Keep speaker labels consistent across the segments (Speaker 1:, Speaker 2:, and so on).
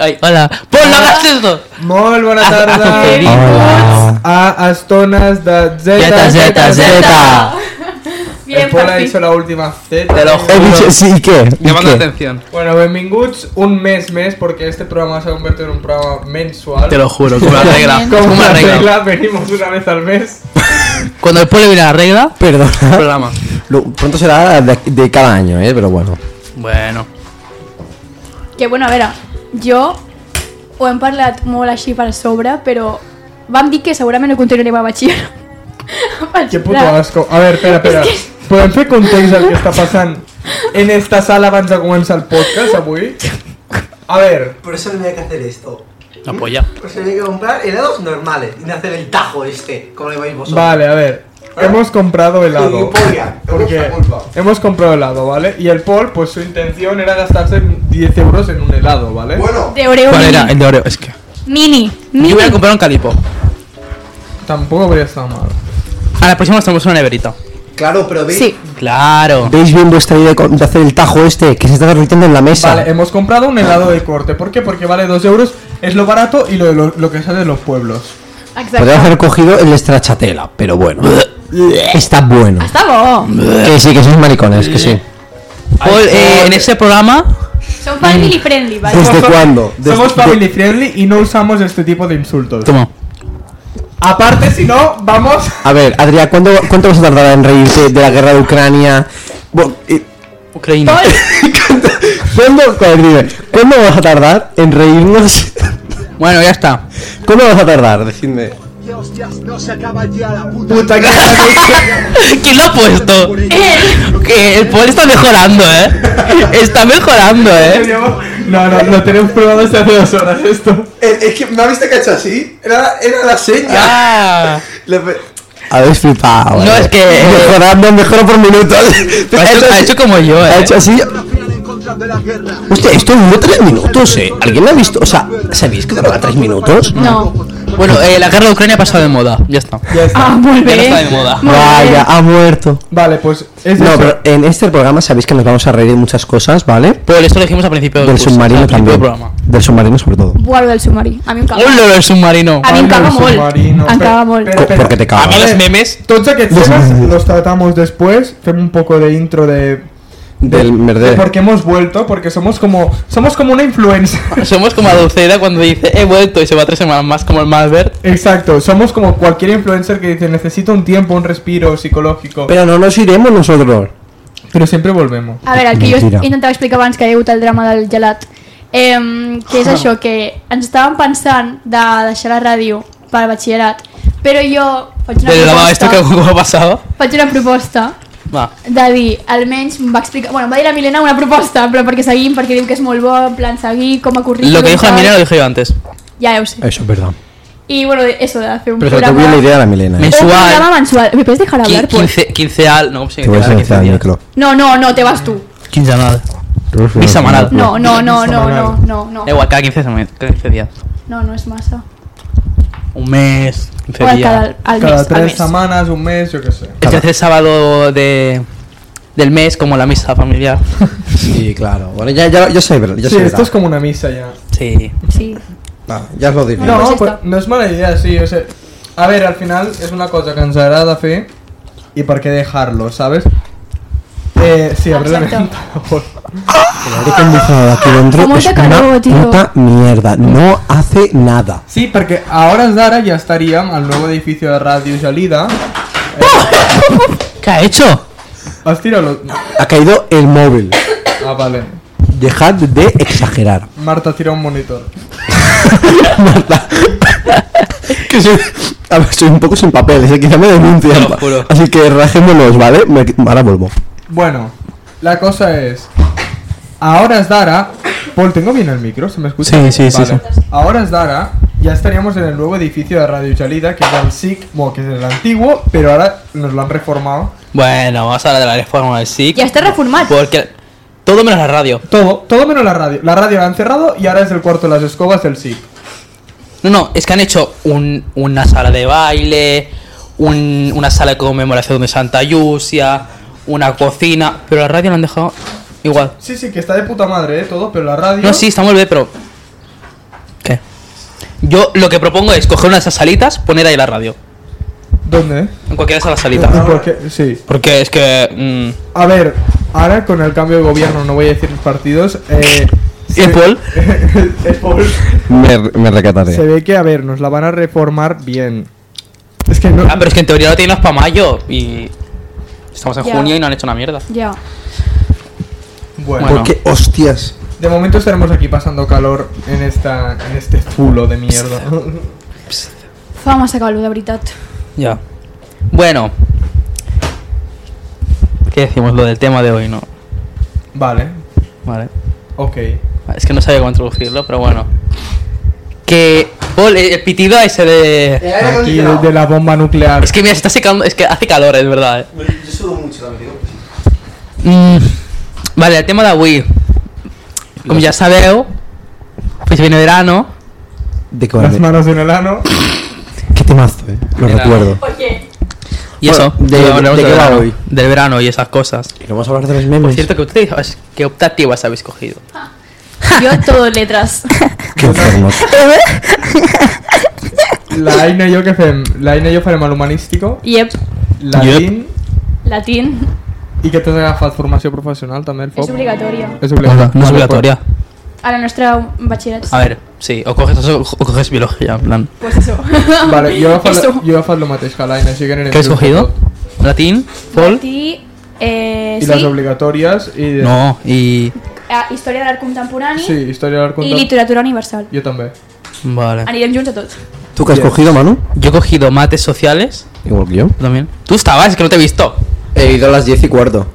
Speaker 1: Ai, hola. Pol, no hagas esto.
Speaker 2: Molt bona
Speaker 1: Aferit.
Speaker 2: tarda a Estones de
Speaker 1: Zeta,
Speaker 2: Z.
Speaker 1: Zeta, Zeta.
Speaker 2: El
Speaker 3: Bien,
Speaker 2: Pol ha
Speaker 3: papi.
Speaker 2: dicho la última Z.
Speaker 1: Te lo
Speaker 4: He
Speaker 1: juro.
Speaker 4: dicho, Eh, sí, ¿y qué? ¿Y
Speaker 5: Llamando la
Speaker 4: qué?
Speaker 5: atención.
Speaker 2: Bueno, benvinguts un mes més, porque este programa se ha convertido en un programa mensual.
Speaker 1: Te lo juro, como la regla.
Speaker 2: Como
Speaker 1: Como la
Speaker 2: una
Speaker 1: regla.
Speaker 2: regla, venimos una vez al mes.
Speaker 1: Cuando el pueblo viene la regla.
Speaker 4: Perdona.
Speaker 5: Programa.
Speaker 4: Lo- Pronto será de, de cada año, ¿eh? Pero bueno.
Speaker 1: Bueno.
Speaker 3: Que bueno, a veure, jo ho hem parlat molt així per sobre, però vam dir que segurament no continuarem a batxiller.
Speaker 2: Qué puto asco. A ver, espera, espera. Podem fer context del que està passant en esta sala abans de començar el podcast avui? A ver,
Speaker 6: Por eso tenía que hacer esto.
Speaker 1: Apoya.
Speaker 6: Por eso tenía que comprar helados normales y no hacer el tajo este, como le vais vosotros.
Speaker 2: vale, a ver. Hemos comprado helado.
Speaker 6: Gilipollas, te
Speaker 2: Porque
Speaker 6: gusta, culpa.
Speaker 2: hemos comprado helado, ¿vale? Y el Paul, pues su intención era gastarse 10 euros en un helado, ¿vale?
Speaker 6: Bueno,
Speaker 3: De Oreo
Speaker 1: ¿Cuál
Speaker 3: mini.
Speaker 1: era? El de Oreo. Es que.
Speaker 3: Mini. Mini.
Speaker 1: Yo voy a comprar un calipo.
Speaker 2: Tampoco habría estado mal.
Speaker 1: A la próxima nos tomamos una neverita.
Speaker 6: claro, pero veis.
Speaker 3: Sí.
Speaker 1: Claro.
Speaker 4: ¿Veis bien vuestra idea de, co- de hacer el tajo este que se está derritiendo en la mesa?
Speaker 2: Vale, hemos comprado un helado de corte. ¿Por qué? Porque vale 2 euros, es lo barato y lo, lo, lo que sale de los pueblos.
Speaker 4: Podría
Speaker 3: Exacte.
Speaker 4: haber cogido el de stracciatella, pero bueno. está bueno.
Speaker 3: Està bo.
Speaker 4: Que sí, que sois maricones, que sí.
Speaker 1: Paul, eh, en ese programa.
Speaker 3: Som
Speaker 1: Mm.
Speaker 3: family friendly, vale?
Speaker 4: ¿Desde
Speaker 2: Somos-
Speaker 4: cuándo? Desde-
Speaker 2: Somos
Speaker 4: de-
Speaker 2: family friendly y no usamos este tipo de insultos.
Speaker 1: Toma.
Speaker 2: Aparte, si no, vamos.
Speaker 4: A ver, Adrián, ¿cuándo- ¿cuánto vas a tardar en reírte de la guerra de Ucrania? Bu- eh,
Speaker 1: Ucrania.
Speaker 3: Pol,
Speaker 4: ¿Cuándo, joder, dime, ¿cuándo vas a tardar en reírnos?
Speaker 1: Bueno, ya está.
Speaker 4: ¿Cuándo vas a tardar? Decidme.
Speaker 2: Puta que.
Speaker 1: ¿Quién lo ha puesto? Que el Paul está mejorando, ¿eh? Está mejorando, ¿eh?
Speaker 2: No, no, lo tenemos probado desde hace dos horas esto.
Speaker 6: Eh, Es que, ¿no has visto que ha hecho así? Era, era la seña.
Speaker 1: Ah.
Speaker 6: Le pe-
Speaker 4: Habéis flipado.
Speaker 1: No,
Speaker 4: eh.
Speaker 1: es que-
Speaker 4: Mejorando, mejoro por minutos.
Speaker 1: Ha hecho, ha hecho como yo,
Speaker 4: Ha
Speaker 1: ¿eh?
Speaker 4: hecho así. Hostia, esto duró tres minutos, eh. ¿Alguien lo ha visto? O sea, ¿sabéis que duraba tres minutos?
Speaker 3: no.
Speaker 1: Bueno, eh, la guerra de Ucrania ha pasado de moda. Ya está.
Speaker 2: Ya está.
Speaker 3: Ah, molt
Speaker 1: Ya no
Speaker 3: bé.
Speaker 1: está de moda.
Speaker 3: Molt
Speaker 4: Vaya,
Speaker 3: bé.
Speaker 4: ha muerto.
Speaker 2: Vale, pues es
Speaker 4: No,
Speaker 2: eso.
Speaker 4: pero en este programa sabéis que nos vamos a reír de muchas cosas, ¿vale?
Speaker 1: Paul, esto Pues lo dijimos al principio del,
Speaker 4: Del
Speaker 1: curso,
Speaker 4: submarino
Speaker 1: al principio
Speaker 4: también.
Speaker 1: Del programa.
Speaker 4: Del submarino sobre todo.
Speaker 3: Buah, lo del submarí. A mi em caga.
Speaker 1: ¡Hola, el submarino!
Speaker 3: A mi em caga
Speaker 2: Pablo
Speaker 3: molt.
Speaker 2: Submarino.
Speaker 3: Em caga
Speaker 2: Espera,
Speaker 3: molt.
Speaker 2: espera, espera.
Speaker 4: Porque te
Speaker 1: A mí
Speaker 4: cagas.
Speaker 1: los memes.
Speaker 2: Tots aquests
Speaker 4: Los-
Speaker 2: temas los tratamos después. Hacemos un poco de intro de.
Speaker 4: Del
Speaker 2: de
Speaker 4: merdero.
Speaker 2: por qué hemos vuelto, porque somos como. Somos como una influencer.
Speaker 1: Somos como a Dulceida cuando dice he vuelto y se va tres semanas más como el Malbert.
Speaker 2: Exacto, somos como cualquier influencer que dice necesito un tiempo, un respiro psicológico.
Speaker 4: Pero no nos iremos nosotros.
Speaker 2: Pero siempre volvemos.
Speaker 3: A veure, el que jo
Speaker 4: Mentira.
Speaker 3: intentava explicar abans que hi ha hagut el drama del gelat, eh, que
Speaker 4: Ah.
Speaker 3: és això, que ens estàvem pensant de deixar la ràdio per al batxillerat, però jo faig una
Speaker 1: Pero la va, esto
Speaker 3: proposta,
Speaker 1: que cómo ha pasado.
Speaker 3: faig una proposta
Speaker 1: Va.
Speaker 3: de dir, almenys em va explicar, bueno, em va dir la Milena una proposta, però perquè seguim, perquè diu que és molt bo, en plan seguir, com a currículum...
Speaker 1: Lo que dijo la
Speaker 3: tal.
Speaker 1: Milena lo dije yo antes.
Speaker 3: Ja, ja ho sé.
Speaker 4: Eso es verdad.
Speaker 3: I, bueno, eso, de fer un
Speaker 4: Pero se te
Speaker 3: programa...
Speaker 4: ocurrió la idea de la Milena. ¿eh?
Speaker 1: Me-
Speaker 3: Un
Speaker 1: Mensual.
Speaker 3: programa mensual. ¿Me puedes dejar hablar, por?
Speaker 1: 15, 15 al. No, sí,
Speaker 4: Te voy a
Speaker 1: quince
Speaker 4: silenciar el
Speaker 1: días.
Speaker 4: micro.
Speaker 3: No, no, no, te vas tú.
Speaker 1: 15 al. Mi
Speaker 4: Ah,
Speaker 1: semanal.
Speaker 3: No, no, no, no, no, no, no.
Speaker 1: Da igual, cada 15, semanas, cada 15 días.
Speaker 3: No, no és massa.
Speaker 1: Un mes, 15
Speaker 3: Igual cada,
Speaker 1: días.
Speaker 3: al
Speaker 2: Cada
Speaker 3: mes, al
Speaker 2: tres
Speaker 3: mes.
Speaker 2: semanas, un mes, yo qué sé.
Speaker 1: Este es el sábado de, del mes, como la misa familiar.
Speaker 4: Sí, claro. Bueno, ya, ya, ya sé, ya
Speaker 2: Sí,
Speaker 4: sé.
Speaker 2: esto es como una misa ya.
Speaker 1: Sí.
Speaker 3: Sí.
Speaker 4: Ah, ya os lo diré.
Speaker 2: No,
Speaker 3: pues
Speaker 2: pues
Speaker 3: ja està.
Speaker 2: no és mala idea, sí, o sigui, a veure, al final és una cosa que ens agrada fer i per què dejar-lo, ¿sabes? Eh, sí, abre la
Speaker 3: Exacte.
Speaker 2: ventana, por favor.
Speaker 4: El aire acondicionado aquí
Speaker 2: Ah,
Speaker 4: dentro
Speaker 3: Como
Speaker 4: es
Speaker 3: te acabo,
Speaker 4: una
Speaker 3: tío.
Speaker 4: puta mierda. No hace nada.
Speaker 2: Sí, perquè a hores d'ara ja estaríem al nou edifici de Ràdio Gelida.
Speaker 1: ¿Qué ha hecho?
Speaker 2: Has tirado...
Speaker 4: Ha caído el móvil.
Speaker 2: Ah, vale.
Speaker 4: Dejad de exagerar.
Speaker 2: Marta, tira un monitor.
Speaker 4: Que soy, a ver, soy un poco sin papeles, eh, quizá me denuncian.
Speaker 1: Te lo juro.
Speaker 4: Así que rajémonos, ¿vale? Me- ahora vuelvo.
Speaker 2: Bueno, la cosa es... A hores d'ara... Paul, ¿tengo bien el micro? ¿Se me escucha?
Speaker 4: Sí, sí, sí,
Speaker 2: sí. A hores d'ara ya estaríamos en el nuevo edificio de Radio Chalida, que es el SIC, bueno, que es el antiguo, pero ahora nos lo han reformado.
Speaker 1: Bueno, vamos a hablar de la reforma del SIC.
Speaker 3: Ja està reformat.
Speaker 1: Porque todo menos la radio.
Speaker 2: Todo, todo menos la radio. La radio la han cerrado y ahora es el cuarto de las escobas del SIC.
Speaker 1: No, no, es que han hecho un- una sala de baile, un- una sala de conmemoración de Santa Yusia, una cocina, pero la radio la han dejado igual.
Speaker 2: Sí, sí, que está de puta madre, eh, todo, pero la radio...
Speaker 1: No, sí, está muy bien, pero Yo lo que propongo es coger una de esas salitas, poner ahí la radio.
Speaker 2: ¿Dónde?
Speaker 1: En cualquiera de esas las
Speaker 2: ¿Y
Speaker 1: salitas.
Speaker 2: por qué? Sí.
Speaker 1: Porque es que. mm,
Speaker 2: A ver, ahora con el cambio de gobierno, no voy a decir partidos. Eh, se-
Speaker 1: ¿Y Paul?
Speaker 2: El Paul.
Speaker 4: Me, me
Speaker 2: Se
Speaker 4: recataré.
Speaker 2: ve que, a ver, nos la van a reformar bien. Es que no.
Speaker 1: Ah, pero es que en teoría lo tienen para mayo y. Estamos en
Speaker 3: Ya.
Speaker 1: junio y no han hecho una mierda.
Speaker 3: Ya.
Speaker 2: Bueno,
Speaker 1: Bueno.
Speaker 7: Porque, hostias.
Speaker 2: de momento estaremos aquí pasando calor en, esta, en este zulo de mierda.
Speaker 3: Fa massa calor, de veritat.
Speaker 1: Ya. Bueno. ¿Qué decimos? Lo del tema de hoy, ¿no?
Speaker 2: vale,
Speaker 1: Vale.
Speaker 2: ok.
Speaker 1: Es que no sabía cómo introducirlo, pero bueno. Que. Paul, el el pitido ese de.
Speaker 6: aire
Speaker 2: Aquí
Speaker 6: acondicionado.
Speaker 2: de la bomba nuclear.
Speaker 1: Es que mira, se está secando. Es que hace calor, es verdad. eh.
Speaker 6: Yo sudo mucho, la verdad.
Speaker 1: Mm, vale, el tema d'avui. Com ja sabeu, pues viene verano.
Speaker 4: ¿De qué,
Speaker 2: Las
Speaker 4: va?
Speaker 2: manos en el ano.
Speaker 4: ¿Qué temazo, eh? Lo
Speaker 1: Era-
Speaker 4: recuerdo.
Speaker 3: Oye.
Speaker 1: Y
Speaker 4: Bueno,
Speaker 1: eso,
Speaker 4: de-
Speaker 1: y hablaremos
Speaker 4: de
Speaker 1: del
Speaker 4: qué va
Speaker 1: verano,
Speaker 4: hoy.
Speaker 1: Del verano y esas cosas.
Speaker 4: Y vamos a hablar de los
Speaker 1: Por
Speaker 4: memes.
Speaker 1: cierto, que ustedes, ¿qué optativas habéis cogido?
Speaker 3: Yo todo letras.
Speaker 4: Qué enfermos.
Speaker 2: La Aina i jo que fem? La Aina i jo farem a l'humanístico,
Speaker 3: Yep.
Speaker 2: la
Speaker 1: Yep.
Speaker 2: Lin,
Speaker 3: Latín.
Speaker 2: i que t'has agafat formació professional també, el FOP.
Speaker 3: És obligatòria.
Speaker 2: És obligatòria.
Speaker 1: No es
Speaker 2: Vale,
Speaker 1: obligatoria.
Speaker 3: A la nostra batxillerat.
Speaker 1: A ver, sí, o coges eso o coges biología, en plan.
Speaker 3: Pues eso.
Speaker 2: pues. Vale, jo he agafat,
Speaker 3: Eso.
Speaker 2: jo he agafat el mateix que l'Aina, així que anirem...
Speaker 1: ¿Qué habéis
Speaker 2: junts
Speaker 1: cogido?
Speaker 2: tot.
Speaker 1: ¿Latín? ¿Pol?
Speaker 3: Latí, eh,
Speaker 2: I les
Speaker 3: sí,
Speaker 2: obligatòries i...
Speaker 1: No, y.
Speaker 3: eh, història de l'art contemporani
Speaker 2: Sí, història de l'art
Speaker 3: i
Speaker 2: contemporani.
Speaker 3: literatura universal.
Speaker 2: Jo també.
Speaker 1: Vale.
Speaker 3: Anirem junts a tot.
Speaker 4: ¿Tú qué has cogido, Manu?
Speaker 1: Yo he cogido mates sociales
Speaker 4: Igual que yo.
Speaker 1: también. Tú estabas, es que no te he visto.
Speaker 4: He ido a las 10 y cuarto.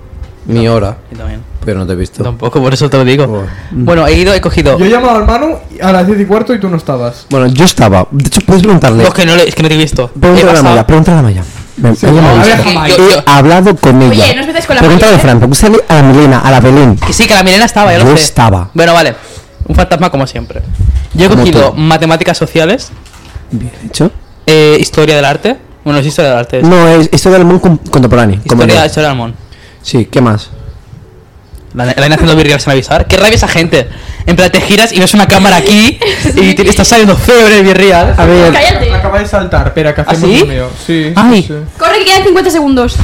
Speaker 4: Mi hora.
Speaker 1: Yo también.
Speaker 4: Pero no te he visto.
Speaker 1: Tampoco, por eso te lo digo.
Speaker 4: Oh.
Speaker 1: Bueno, he ido, he cogido.
Speaker 2: Jo he llamado al Manu a las 10 y cuarto y tú no estabas.
Speaker 4: Bueno, yo estaba. De hecho, puedes preguntarle.
Speaker 1: No, que no, le- es que no te he visto. He
Speaker 4: Pregúntale a la
Speaker 1: pasado-
Speaker 4: Maya, pregúntale a la Maya. Me-
Speaker 2: Sí,
Speaker 4: ella me ha
Speaker 2: a ver,
Speaker 4: visto.
Speaker 2: jamás.
Speaker 1: Yo- yo-
Speaker 4: He hablado con ella.
Speaker 3: Oye, no os metáis con la
Speaker 4: Pregúntale a
Speaker 3: Maya, ¿eh?
Speaker 4: Fran, pregúntale a la Melena, a la Belén.
Speaker 1: Que sí, que la Milena estaba, ya lo
Speaker 4: Yo
Speaker 1: sé.
Speaker 4: estaba.
Speaker 1: Bueno, vale. Un fantasma como siempre. Yo he
Speaker 4: Como
Speaker 1: cogido
Speaker 4: tú.
Speaker 1: matemáticas sociales,
Speaker 4: Bien hecho.
Speaker 1: eh, historia del arte. Bueno, no es historia del arte. es
Speaker 4: No, es historia del mundo con- contemporáneo. como
Speaker 1: historia,
Speaker 4: yo.
Speaker 1: historia del mon.
Speaker 4: Sí, ¿qué más?
Speaker 1: La, la han haciendo virgueras sin avisar. Qué rabia esa gente. En plan, te giras y ves una cámara aquí y te, estás saliendo febre de virreal.
Speaker 4: A ver.
Speaker 3: Cállate.
Speaker 2: Acaba de saltar, espera, que hacemos
Speaker 1: ¿Ah, sí?
Speaker 2: un mío. Sí,
Speaker 1: Ay.
Speaker 2: sí, sí.
Speaker 3: Corre, que quedan 50 segundos.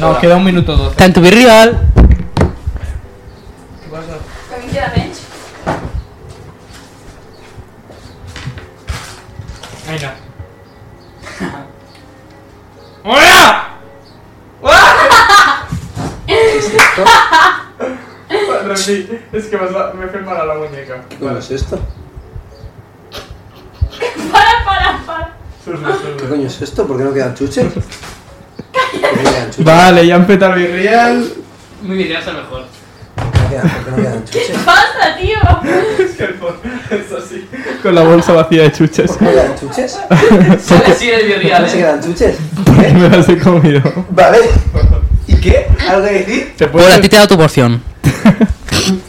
Speaker 2: No, queda un minuto doce.
Speaker 1: Tanto virreal.
Speaker 2: Aina. ¡Hola! es que me he firmado la muñeca.
Speaker 7: ¿Cuál es esto?
Speaker 3: Para, para, para.
Speaker 7: ¿Qué coño es esto? ¿Por qué no quedan chuches? ¿Por qué no quedan chuches?
Speaker 2: Vale, ya han petado el virreal.
Speaker 1: Muy virreal es mejor.
Speaker 7: ¿Por qué no quedan- por qué no quedan chuches?
Speaker 3: Pasa, tío.
Speaker 2: Es que el fondo es así. Con la bolsa vacía de chuches.
Speaker 7: ¿Por qué no quedan chuches?
Speaker 1: Solo si eres
Speaker 7: ¿Por qué no se quedan chuches?
Speaker 2: Porque me las he comido.
Speaker 7: Vale. ¿Y qué? ¿Algo que decir?
Speaker 2: ¿Te
Speaker 1: Bueno, a ti te he dado tu porción.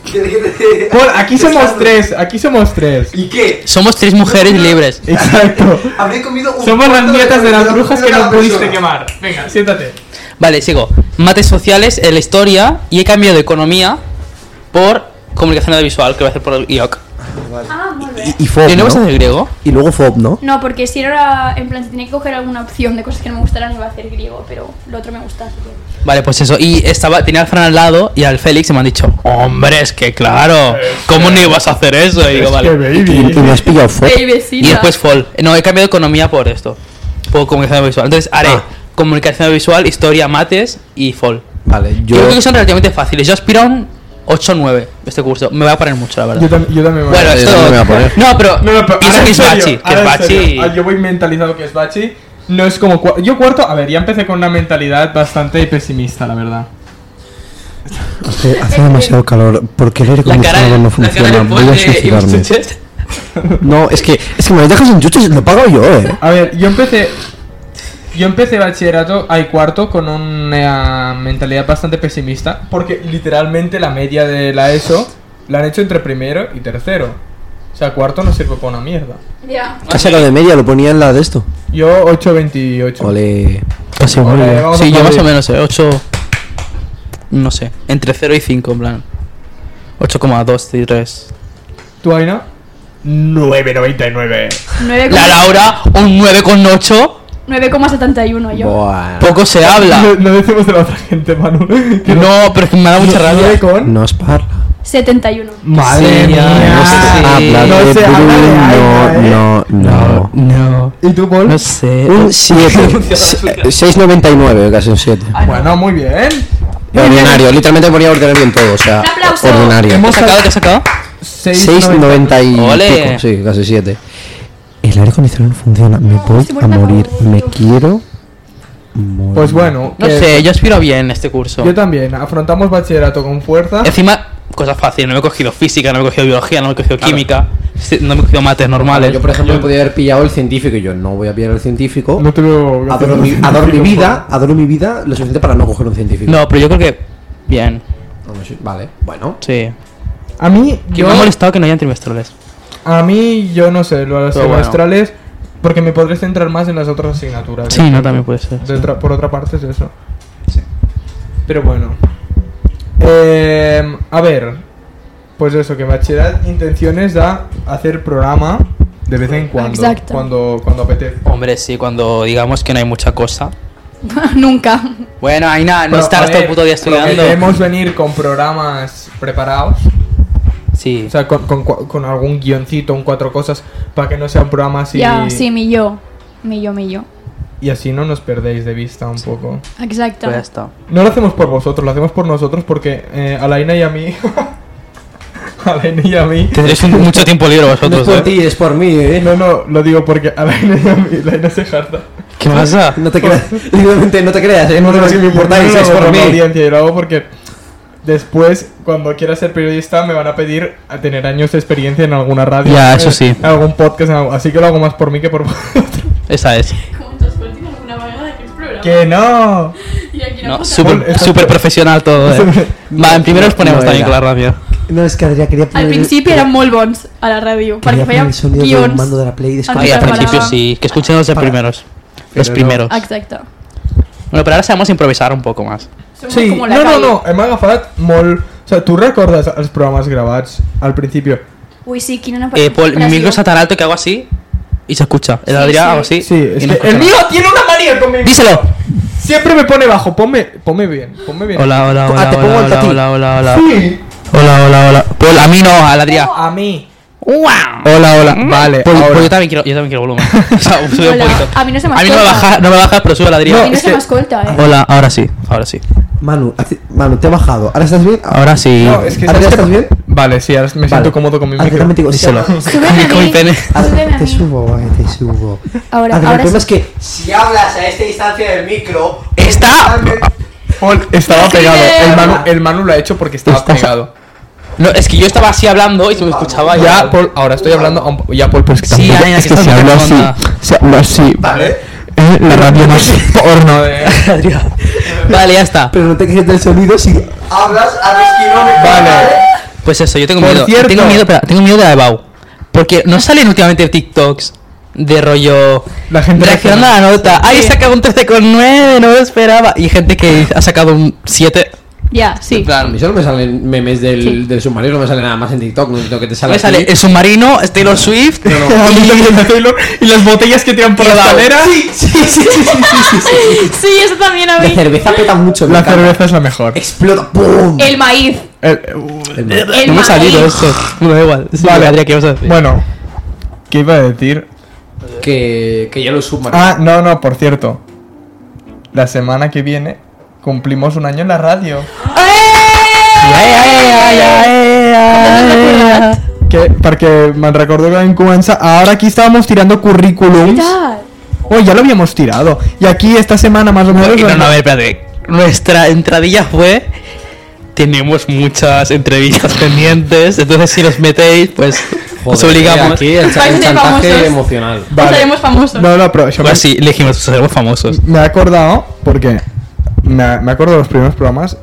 Speaker 7: ¿Qué- qué- qué-
Speaker 2: Por, aquí somos tres, aquí somos tres.
Speaker 7: ¿Y qué?
Speaker 1: Somos tres mujeres libres.
Speaker 2: Exacto.
Speaker 7: Habré comido un
Speaker 2: Somos las
Speaker 7: cuarto
Speaker 2: nietas de las
Speaker 7: la
Speaker 2: brujas que
Speaker 7: primera
Speaker 2: no pudiste
Speaker 7: persona.
Speaker 2: quemar. Venga, siéntate.
Speaker 1: Vale, sigo. Mates sociales, eh, la historia y he cambiado de economía por comunicación audiovisual, que voy a hacer por el IOC.
Speaker 3: Ah, molt bé.
Speaker 4: Y, y FOB,
Speaker 1: ¿Y no
Speaker 4: ¿no?
Speaker 1: vas a hacer griego?
Speaker 4: Y luego FOB, ¿no?
Speaker 3: No, porque si era en plan, si tenía que coger alguna opción de cosas que no me gustaran, iba a hacer griego, pero lo otro me gusta. así que-
Speaker 1: Vale, pues eso. Y estaba, tenía al Fran al lado y al Félix y me han dicho, hombre, es que claro, ¿cómo no ibas a hacer eso? Y digo,
Speaker 2: Que
Speaker 1: vale.
Speaker 4: Y, y me
Speaker 2: baby.
Speaker 4: has pillado FOB.
Speaker 3: Ey, vecina.
Speaker 1: Y después Fall. Eh, No, he cambiado de economía por esto. Por comunicación audiovisual. Entonces haré
Speaker 4: Ah.
Speaker 1: comunicación audiovisual, historia, mates y Fall.
Speaker 4: Vale,
Speaker 1: Yo
Speaker 4: yo.
Speaker 1: creo que son relativamente fáciles. Yo aspiro a un 8-9 este curso. Me va a poner mucho, la verdad.
Speaker 2: Yo, tam- yo también voy a-
Speaker 1: Bueno,
Speaker 4: Yo
Speaker 1: esto.
Speaker 4: también me voy a poner.
Speaker 1: No, pero.
Speaker 2: No, no, pero
Speaker 1: piensa
Speaker 2: ahora
Speaker 1: que
Speaker 2: en
Speaker 1: es
Speaker 2: serio,
Speaker 1: Bachi. Que
Speaker 2: ahora
Speaker 1: es
Speaker 2: en
Speaker 1: Bachi.
Speaker 2: serio. Ah, Yo voy mentalizado que es Bachi. No es como. cua- Yo cuarto, a ver, ya empecé con una mentalidad bastante pesimista, la verdad.
Speaker 4: Hace, hace demasiado calor. ¿Por qué el aire
Speaker 1: La cara,
Speaker 4: acondicionado no
Speaker 1: la cara
Speaker 4: funciona?
Speaker 1: de
Speaker 4: Voy a
Speaker 1: Paul de
Speaker 4: suicidarme.
Speaker 1: Ibsuchet.
Speaker 4: No, es que, es que me lo dejas en chuches, lo pago yo, eh.
Speaker 2: A ver, yo empecé. Yo empecé bachillerato, hay cuarto, con una mentalidad bastante pesimista. Porque literalmente la media de la ESO la han hecho entre primero y tercero. O sea, cuarto no sirve para una mierda.
Speaker 3: Ya.
Speaker 4: ¿Qué has sacado de media? Lo ponía en la de esto.
Speaker 2: Yo 8.28.
Speaker 4: Ole.
Speaker 1: Casi
Speaker 2: Ole,
Speaker 1: vuelve.
Speaker 2: vamos a
Speaker 1: Sí, yo
Speaker 2: Madrid.
Speaker 1: más o menos, 8. No sé, entre 0 y 5, en plan. 8,2 y 3.
Speaker 2: ¿Tú, Aina? 9,99.
Speaker 3: 9,
Speaker 1: La Laura, un 9,8.
Speaker 3: 9,71 yo.
Speaker 4: Buah.
Speaker 1: Poco se habla.
Speaker 2: No, no decimos de la otra gente, Manu. Que
Speaker 1: No, pero es que me da mucha rabia.
Speaker 2: 9 con.
Speaker 4: No es parla.
Speaker 3: 71.
Speaker 2: Mm. Madre
Speaker 1: Sí, ya,
Speaker 2: mía.
Speaker 1: no sé.
Speaker 4: Habla
Speaker 2: No
Speaker 4: de
Speaker 2: se habla de Aina, ¿eh?
Speaker 4: Bruno. No, no.
Speaker 1: No,
Speaker 2: ¿Y tú, Paul?
Speaker 1: no sé.
Speaker 4: Un 7. 6,99, casi un 7.
Speaker 2: Bueno, muy bien.
Speaker 4: Ordinario, literalmente ponía ordenar bien todo, o sea,
Speaker 3: Un aplauso.
Speaker 4: ordinario.
Speaker 1: ¿Qué has sacado? ¿Qué has sacado?
Speaker 4: 6,90 y
Speaker 1: Ole.
Speaker 4: pico, sí, casi 7. El aire acondicionado no funciona, me voy
Speaker 3: estoy muerta
Speaker 4: a morir,
Speaker 3: por
Speaker 4: me
Speaker 3: gusto.
Speaker 4: quiero morir.
Speaker 2: Pues bueno.
Speaker 1: No
Speaker 2: que
Speaker 1: sé, yo aspiro bien este curso.
Speaker 2: Yo también. Afrontamos bachillerato con fuerza.
Speaker 1: Encima, cosas fáciles. No me he cogido física, no me he cogido biología, no me he cogido química, sí, no me he cogido mates normales.
Speaker 8: Yo, por ejemplo, podía haber pillado el científico y yo no voy a pillar el científico.
Speaker 2: No te veo.
Speaker 8: Adoro mi, adoro mi vida, adoro mi vida lo suficiente para no coger un científico.
Speaker 1: No, pero yo creo que. Bien,
Speaker 8: No, no sé, Vale, bueno.
Speaker 1: sí.
Speaker 2: A mí,
Speaker 1: Que
Speaker 2: yo,
Speaker 1: me ha molestado que no hayan trimestrales.
Speaker 2: a mí, yo no sé, lo de los
Speaker 1: Pero bueno.
Speaker 2: semestrales. Porque me podré centrar más en las otras asignaturas.
Speaker 1: Sí, no, también puede ser.
Speaker 2: De otra- por otra parte es eso. Pero bueno. Eh, a ver. Pues eso, que bachillerat intenciones da hacer programa de vez en cuando.
Speaker 3: Exacto.
Speaker 2: Cuando, cuando apetece.
Speaker 1: Hombre, sí, cuando digamos que no hay mucha cosa.
Speaker 3: Nunca.
Speaker 1: Bueno, Aina, no
Speaker 2: Pero, Ah, a
Speaker 1: estarás Pues todo
Speaker 2: ver,
Speaker 1: el puto día estudiando.
Speaker 2: Debemos venir con programas preparados.
Speaker 1: Sí.
Speaker 2: O sea, con, con cua- con algún guioncito, un cuatro cosas, para que no sea un programa así.
Speaker 3: Ya, sí, mi yo. Mi yo, mi yo.
Speaker 2: Y así no nos perdéis de vista un poco.
Speaker 3: Exacto.
Speaker 1: Pues ya está.
Speaker 2: No lo hacemos por vosotros, lo hacemos por nosotros porque eh, a Laina y a mí. a Laina y a mí.
Speaker 1: Tendréis un- mucho tiempo libre
Speaker 8: No es
Speaker 1: vosotros,
Speaker 8: por
Speaker 1: ¿eh?
Speaker 8: ti, es por mí, ¿eh?
Speaker 2: No, no, lo digo porque a Laina y a mí. Laina se jarta.
Speaker 1: ¿Qué pasa?
Speaker 8: No te creas, literalmente no te creas, ¿eh? No te creas que me importáis,
Speaker 2: Yo no
Speaker 8: es
Speaker 2: lo hago
Speaker 8: por
Speaker 2: la
Speaker 8: mí.
Speaker 2: audiencia, yo lo hago porque después, cuando quiera ser periodista, me van a pedir a tener años de experiencia en alguna radio.
Speaker 1: Ya, eso
Speaker 2: eh,
Speaker 1: sí.
Speaker 2: En algún podcast, en algo- así que lo hago más por mí que por vosotros.
Speaker 1: Esa es.
Speaker 2: ¡Que no!
Speaker 1: No,
Speaker 2: Pon
Speaker 1: súper
Speaker 2: esa-
Speaker 1: super profesional todo, ¿eh? Va, en primero os ponemos
Speaker 8: No
Speaker 1: también con
Speaker 8: era.
Speaker 1: la radio.
Speaker 8: No, es que Adrià quería poner
Speaker 3: Al principi eren molt bons a la ràdio,
Speaker 8: quería
Speaker 3: perquè
Speaker 8: poner
Speaker 3: fèiem
Speaker 8: el sonido del
Speaker 3: guions.
Speaker 8: mando de la Play y
Speaker 3: Ah,
Speaker 8: desconectar.
Speaker 1: Ay, al
Speaker 3: preparaba.
Speaker 1: principio sí. Que escuchen los de primeros. Los
Speaker 2: no.
Speaker 1: primeros.
Speaker 3: Exacte.
Speaker 1: Bueno, pero ahora sabemos improvisar un poco más.
Speaker 3: Som
Speaker 2: Sí,
Speaker 3: com
Speaker 2: no,
Speaker 3: la
Speaker 2: no,
Speaker 3: ràdio.
Speaker 2: no, hem agafat molt... O sea, tu recordes els programes gravats al principio?
Speaker 3: Ui, sí, quina
Speaker 1: Eh, Paul, mi
Speaker 3: impressió.
Speaker 1: micro está tan alto que hago así y se escucha. El
Speaker 3: Sí,
Speaker 1: Adrián
Speaker 3: sí.
Speaker 1: hago así.
Speaker 2: Sí, es
Speaker 1: y no
Speaker 2: que el
Speaker 1: escucha
Speaker 2: mío
Speaker 1: nada.
Speaker 2: tiene una manía conmigo.
Speaker 1: ¡Díselo!
Speaker 2: Siempre me pone bajo, ponme, ponme bien, ponme bien.
Speaker 1: Hola, hola, hola.
Speaker 8: Ah, te pongo
Speaker 1: hola,
Speaker 8: el
Speaker 1: hola,
Speaker 8: tatín.
Speaker 1: hola, hola, hola.
Speaker 2: Sí.
Speaker 1: Hola, hola, hola. Paul, a mí no, al Adrián.
Speaker 2: A mí.
Speaker 1: Hola, hola. Vale, Paul,
Speaker 2: ahora.
Speaker 1: Paul, yo también quiero, yo también quiero volumen. o sea, sube un
Speaker 3: Hola,
Speaker 1: poquito.
Speaker 3: a mí no se me
Speaker 1: A mí no me
Speaker 3: escucha.
Speaker 1: bajas, no me bajas, pero sube al
Speaker 3: A mi
Speaker 1: Adrián.
Speaker 3: no
Speaker 2: es
Speaker 3: se
Speaker 2: que-
Speaker 3: m'escolta, eh?
Speaker 1: Hola, ahora sí, ahora sí.
Speaker 8: Manu, hace- Manu, te he bajado. ¿Ahora estás bien?
Speaker 1: Ahora sí.
Speaker 2: No, es que
Speaker 8: ¿Ahora ya
Speaker 2: ¿sabes qué?
Speaker 8: estás bien?
Speaker 2: Vale, sí, ahora me siento
Speaker 8: Vale.
Speaker 2: cómodo con mi
Speaker 8: Ahora que
Speaker 2: micro.
Speaker 8: también te digo,
Speaker 1: Díselo.
Speaker 3: Súbeme a
Speaker 1: Con mi
Speaker 3: mí.
Speaker 1: pene.
Speaker 3: Súbeme a
Speaker 8: Ahora te
Speaker 3: mí.
Speaker 8: subo, eh, te subo. Adrià,
Speaker 3: Ahora- ahora
Speaker 8: el problema
Speaker 3: sí.
Speaker 8: es que
Speaker 6: Si hablas a esta distancia del micro,
Speaker 1: ¡Está!
Speaker 2: Paul, estaba pegado. El Manu, el Manu lo ha hecho porque estaba
Speaker 1: Estás-
Speaker 2: pegado.
Speaker 1: No, es que yo estaba así hablando y se me escuchaba
Speaker 2: Ya, Paul, ahora estoy hablando. a un- Ya, Paul, pues que
Speaker 1: Sí,
Speaker 2: tampoco-
Speaker 1: Aina, que estás muy tonta.
Speaker 2: Se habla así.
Speaker 6: ¿vale?
Speaker 2: Eh, La radio no es porno eh. de.
Speaker 1: Vale, ya está.
Speaker 8: Pero no te quejes del sonido si
Speaker 6: Hablas a los kilómetros,
Speaker 2: Vale.
Speaker 1: Pues eso, yo tengo
Speaker 2: Por
Speaker 1: miedo.
Speaker 2: cierto.
Speaker 1: Tengo miedo, espera, tengo miedo de la de Bau. Porque no salen últimamente TikToks de rollo.
Speaker 2: La gente
Speaker 1: reaccionando a la nota. Ay, he sacado un 13,9, no lo esperaba. Y gente que ha sacado un 7.
Speaker 3: Ja, sí.
Speaker 8: A mí solo me salen memes del,
Speaker 3: Sí.
Speaker 8: del submarino, no me sale nada más en TikTok, no entiendo que te sale.
Speaker 1: Me
Speaker 8: aquí.
Speaker 1: sale el submarino, es Taylor Swift.
Speaker 2: A mí también me Taylor, Y las botellas que tiran por la
Speaker 1: Bau.
Speaker 2: escalera.
Speaker 3: Sí, eso también a
Speaker 8: La
Speaker 3: mí.
Speaker 8: cerveza peta mucho, me
Speaker 2: La
Speaker 8: encanta.
Speaker 2: cerveza es la mejor.
Speaker 8: explota, ¡pum!
Speaker 3: El maíz.
Speaker 2: Eh, uh,
Speaker 8: El-
Speaker 1: no
Speaker 3: El
Speaker 1: me ha
Speaker 3: maíz.
Speaker 1: salido esto. Bueno, da igual. Sí,
Speaker 2: Vale.
Speaker 1: Adrián, ¿qué vas a decir?
Speaker 2: Bueno, ¿qué iba a decir?
Speaker 8: Que, que ya lo submarino.
Speaker 2: Ah, no, no, por cierto. La semana que viene cumplimos un año en la radio.
Speaker 3: ¡Eh!
Speaker 1: Ay, ay, ay, ay, ay, ay.
Speaker 2: Que, porque me recuerdo que en Cuenza, ahora aquí estábamos tirando currículums.
Speaker 3: Ja.
Speaker 2: Oh, ya lo habíamos tirado. Y aquí esta semana más o menos.
Speaker 1: No, no, a ver, espérate. Nuestra entradilla fue. Tenemos muchas entrevistas pendientes, entonces si nos metéis, pues os obligamos.
Speaker 8: Aquí el, cha-
Speaker 3: Vais
Speaker 8: el
Speaker 3: de
Speaker 8: chantaje
Speaker 3: famosos.
Speaker 8: emocional.
Speaker 2: Vale.
Speaker 3: Seremos famosos.
Speaker 2: No, no, pero yo me,
Speaker 1: Pues sí, le dijimos, seremos famosos.
Speaker 2: me he acordado porque me, me acuerdo de los primeros programas.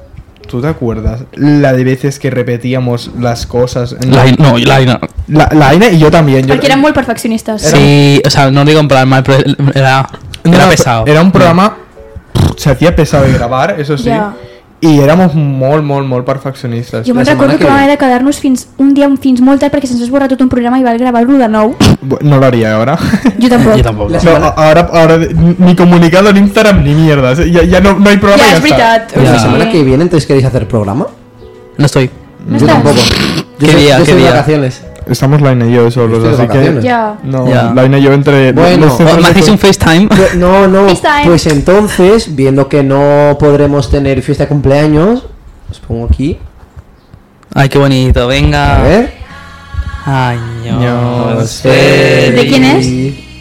Speaker 2: ¿Tú te acuerdas? La de veces que repetíamos las cosas. en-
Speaker 1: La, no, la, no.
Speaker 2: la, la Aina y yo también. Yo,
Speaker 3: Perquè eren molt perfeccionistas.
Speaker 1: Sí, o sea, no digo en plan mal, pero era,
Speaker 2: No,
Speaker 1: era
Speaker 2: no,
Speaker 1: pesado. Mm.
Speaker 2: Era un programa. pff, Se hacía pesado de grabar, eso sí.
Speaker 3: Ya.
Speaker 2: I érem molt, molt, molt perfeccionistes.
Speaker 3: Jo me'n
Speaker 4: La setmana
Speaker 3: recordo que,
Speaker 4: que
Speaker 3: vam
Speaker 4: ve.
Speaker 3: haver de quedar-nos fins un dia fins molt tard perquè se'ns va esborrar tot un programa i va gravar-lo de nou.
Speaker 2: Bu- No lo haría ahora.
Speaker 3: Jo tampoc.
Speaker 1: Yo tampoco.
Speaker 2: No, a- ahora, ahora ni comunicado en Instagram ni mierdas. eh. Ya, ya no, no hay programa.
Speaker 3: Ja,
Speaker 2: y
Speaker 3: és veritat.
Speaker 1: Ja.
Speaker 4: La semana que viene, entonces queréis hacer programa?
Speaker 1: Eh, No estoy.
Speaker 3: No
Speaker 4: Yo
Speaker 3: estàs?
Speaker 4: tampoco. Yo
Speaker 1: ¿Qué
Speaker 4: estoy-
Speaker 1: día,
Speaker 4: yo
Speaker 1: qué
Speaker 4: estoy de
Speaker 1: día?
Speaker 4: vacaciones.
Speaker 2: Estamos Laina y yo solos,
Speaker 4: Estoy de
Speaker 2: así que.
Speaker 4: vacaciones.
Speaker 3: Ja.
Speaker 2: No,
Speaker 1: Ya.
Speaker 2: Laina y yo entre.
Speaker 4: Bueno,
Speaker 2: los- los-
Speaker 1: Oh, ¿Me hacéis un FaceTime?
Speaker 4: Pues, No, no.
Speaker 3: FaceTime.
Speaker 4: Pues entonces, viendo que no podremos tener fiesta de cumpleaños, os pongo aquí.
Speaker 1: Ay, qué bonito, venga.
Speaker 4: A ver.
Speaker 1: Años.
Speaker 3: ¿De quién es?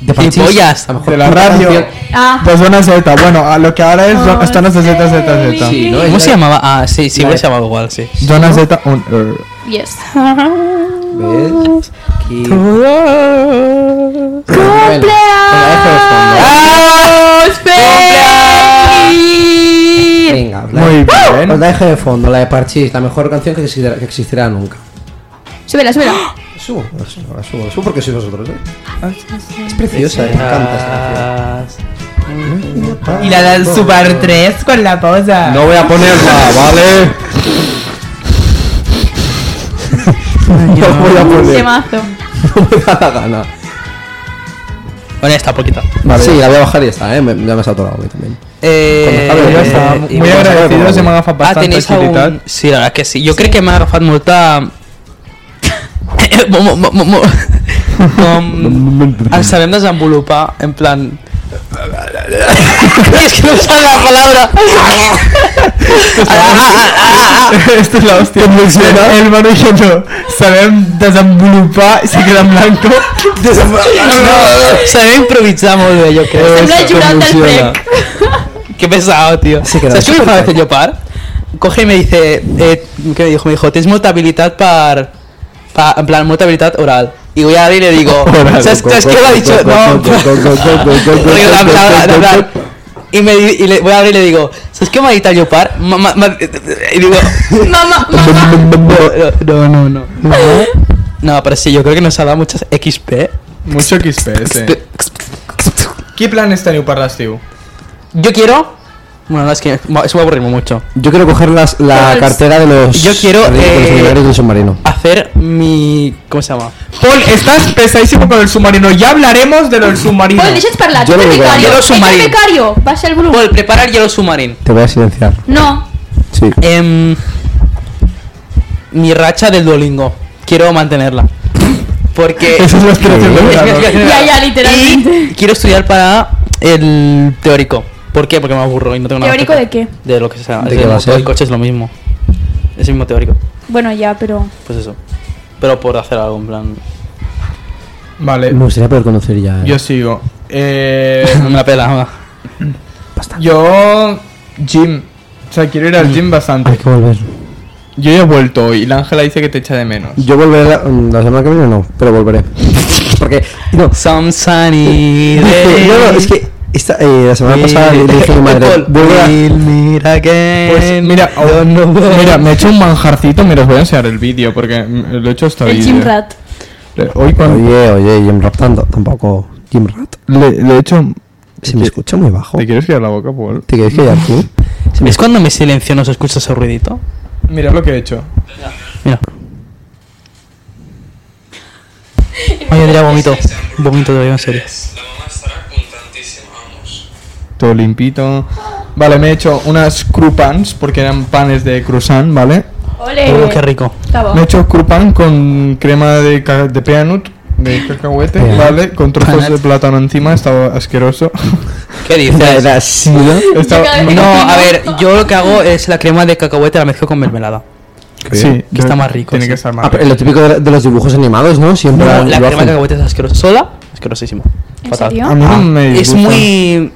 Speaker 4: De Parchís.
Speaker 1: Gilipollas.
Speaker 4: A lo mejor
Speaker 2: De la
Speaker 4: otra
Speaker 2: radio.
Speaker 4: canción.
Speaker 3: Ah,
Speaker 2: Pues zona Z. Bueno, a lo que ahora es
Speaker 3: Oh,
Speaker 2: Zona Z, Z, Z.
Speaker 3: sí.
Speaker 4: Sí, ¿no?
Speaker 1: ¿Cómo
Speaker 4: Es
Speaker 1: se
Speaker 4: la-
Speaker 1: llamaba? Ah, sí, sí,
Speaker 4: la-
Speaker 1: hubiera llamado igual, sí.
Speaker 2: Zona Z. Un, er.
Speaker 3: yes.
Speaker 4: ¿Ves? Aquí.
Speaker 3: ¡Cumpleaños! feliz!
Speaker 4: Venga, os la-
Speaker 2: Muy bien.
Speaker 4: os la dejo de fondo, la de Parchís, la mejor canción que existirá, que existirá nunca.
Speaker 3: Súbela, súbela.
Speaker 4: Subo, la subo, la subo, la subo porque sois vosotros, ¿eh? Es preciosa, eh, me encanta esta canción.
Speaker 9: Y la del Super 3 con la posa.
Speaker 10: voy a ponerla, ¿vale?
Speaker 4: No voy a poner,
Speaker 3: Temazo.
Speaker 4: no me da la gana.
Speaker 1: Bueno, ya está, poquita.
Speaker 4: Sí, la voy a bajar y ya está, eh, me, ya me ha saturado a mí también.
Speaker 1: Eh,
Speaker 4: Con
Speaker 2: Ya
Speaker 4: la-
Speaker 2: està.
Speaker 1: eh,
Speaker 2: Muy
Speaker 1: i-
Speaker 2: agradecidos, se me ha
Speaker 1: Ah,
Speaker 2: bastante
Speaker 1: tenéis algún-
Speaker 2: agilitat.
Speaker 1: Sí, la verdad es que sí. Yo creo que me ha agafado molta... Mo- mo- mo- mo- mo- Com... Ens sabem desenvolupar, en plan... es que no me sale la palabra. Ah,
Speaker 2: Esto es la hostia. El, el Manu y yo no. Sabem desenvolupar, se queda en blanco.
Speaker 1: No, sabem improvisar molt bé, jo crec.
Speaker 3: Sembla el jurat del prec.
Speaker 1: Qué pesado, tío.
Speaker 4: Sí, que no,
Speaker 1: ¿Sabes qué me
Speaker 4: súper
Speaker 1: dijo a veces
Speaker 4: caña.
Speaker 1: yo par? Coge y me dice, eh, ¿qué me dijo? Me dijo, tienes mucha habilidad para, en plan, mucha habilidad oral. Y voy a ir y le digo,
Speaker 2: Oral.
Speaker 1: ¿sabes, ¿sabes qué le ha dicho? No, porque la palabra, la palabra. Y, me, di- y le voy a abrir y le digo, ¿sabes qué me ha dicho yo par? Ma- ma- ma- Y digo,
Speaker 3: Mamá, mamá.
Speaker 1: no, no, no, no. No, pero sí, yo creo que nos ha dado muchas XP.
Speaker 2: Mucho XPS. ¿Qué planes teniu per l'estiu?
Speaker 1: Yo quiero... Bueno, no, es que eso me va a aburrir mucho.
Speaker 4: Yo quiero coger las, la
Speaker 3: Pues-
Speaker 4: cartera de los.
Speaker 1: Yo quiero,
Speaker 4: de los
Speaker 1: eh,
Speaker 4: funcionarios del submarino.
Speaker 1: Hacer mi... ¿Cómo se llama?
Speaker 2: Paul, estás pesadísimo con el submarino. Ya hablaremos de lo del submarino.
Speaker 3: Pol, deixa't parlar. Tu
Speaker 4: Jo
Speaker 3: ets
Speaker 4: no
Speaker 3: el
Speaker 4: vull
Speaker 3: becario.
Speaker 1: parlar. Jo
Speaker 3: Ets
Speaker 1: som
Speaker 3: el
Speaker 1: marit.
Speaker 3: becario. Baixa el volum.
Speaker 1: Paul, preparar hielo submarino.
Speaker 4: Te voy a silenciar.
Speaker 3: No.
Speaker 4: Sí.
Speaker 1: Em, mi racha del Duolingo. Quiero mantenerla. Porque.
Speaker 2: Esa es la aspiración de
Speaker 1: Es mi
Speaker 2: verano.
Speaker 1: aspiración de
Speaker 3: Ya,
Speaker 1: verano.
Speaker 3: ya, literalmente.
Speaker 1: Y quiero estudiar para el teórico. ¿Por qué? Porque me aburro y no tengo nada.
Speaker 3: ¿Teórico
Speaker 1: que hacer.
Speaker 3: de
Speaker 1: De lo que sea.
Speaker 4: ¿De
Speaker 1: Es
Speaker 4: qué
Speaker 1: el
Speaker 4: va a
Speaker 1: motor,
Speaker 4: ser?
Speaker 1: el coche es lo mismo. Es el mismo teórico.
Speaker 3: Bueno, ya, pero...
Speaker 1: Pues eso. Pero por hacer algo en plan.
Speaker 2: Vale,
Speaker 4: Me gustaría poder conocer ya. eh.
Speaker 2: yo sigo. Eh,
Speaker 1: No me la pela. va.
Speaker 2: yo. Gym. O sea, quiero ir al gym
Speaker 4: Hay
Speaker 2: bastante.
Speaker 4: que volver.
Speaker 2: Yo ya he vuelto hoy. y La Ángela dice que te echa de menos.
Speaker 4: Yo volveré la, mm, la semana que viene, no, pero volveré. Porque. No.
Speaker 1: Some sunny
Speaker 4: Dije,
Speaker 1: day.
Speaker 4: no, no, es que. esta- eh, la semana pasada le dije a mi madre.
Speaker 1: Paul,
Speaker 4: Vuelve a.
Speaker 1: Will, mira que.
Speaker 2: Pues mira, oh, mira, me he hecho un manjarcito, me los voy a enseñar el vídeo porque mm, lo he hecho hasta
Speaker 3: El
Speaker 2: vídeo.
Speaker 3: gym rat.
Speaker 2: Le- Hoy cuando
Speaker 4: Oye, oye, Jim Rat tanto- tampoco. Jim Rat.
Speaker 2: le, le he hecho.
Speaker 4: Se me escucha muy bajo.
Speaker 2: ¿Te quieres quedar la boca, Paul?
Speaker 4: ¿Te quieres callar tú? Se me
Speaker 1: ¿Ves cuando me silencio no se escucha ese ruidito?
Speaker 2: Mira lo que he hecho.
Speaker 1: Mira. Ay, Adrián, vomito. Vomito te lo digo en serio.
Speaker 2: Todo limpito. Vale, me he hecho unas croupans porque eran panes de croissant, ¿vale?
Speaker 3: Ole.
Speaker 1: Oh, qué rico.
Speaker 3: Està bo.
Speaker 2: Me he hecho croupant con crema de, ca- de peanut, de cacahuete,
Speaker 4: Peanut.
Speaker 2: ¿vale? Con trozos de
Speaker 1: Peanut.
Speaker 2: plátano encima, estaba asqueroso.
Speaker 1: ¿Qué
Speaker 4: escucha.
Speaker 1: dices?
Speaker 4: La sida.
Speaker 2: Estaba-
Speaker 3: Yo cada vez-
Speaker 1: No, a ver, yo lo que hago es la crema de cacahuete la mezclo con mermelada.
Speaker 2: sí,
Speaker 1: Que está más rico,
Speaker 2: Tiene
Speaker 1: sí.
Speaker 2: que estar más
Speaker 4: Ah, pero
Speaker 2: rico.
Speaker 4: lo típico de, de los dibujos animados, ¿no? Siempre
Speaker 1: No, la
Speaker 4: lo
Speaker 1: crema de
Speaker 4: hacen.
Speaker 1: cacahuete es asquerosa. Sola, asquerosísimo.
Speaker 3: ¿En
Speaker 1: Fatal.
Speaker 3: serio?
Speaker 2: A mí no me
Speaker 1: Ah, Es
Speaker 2: disgusta.
Speaker 1: muy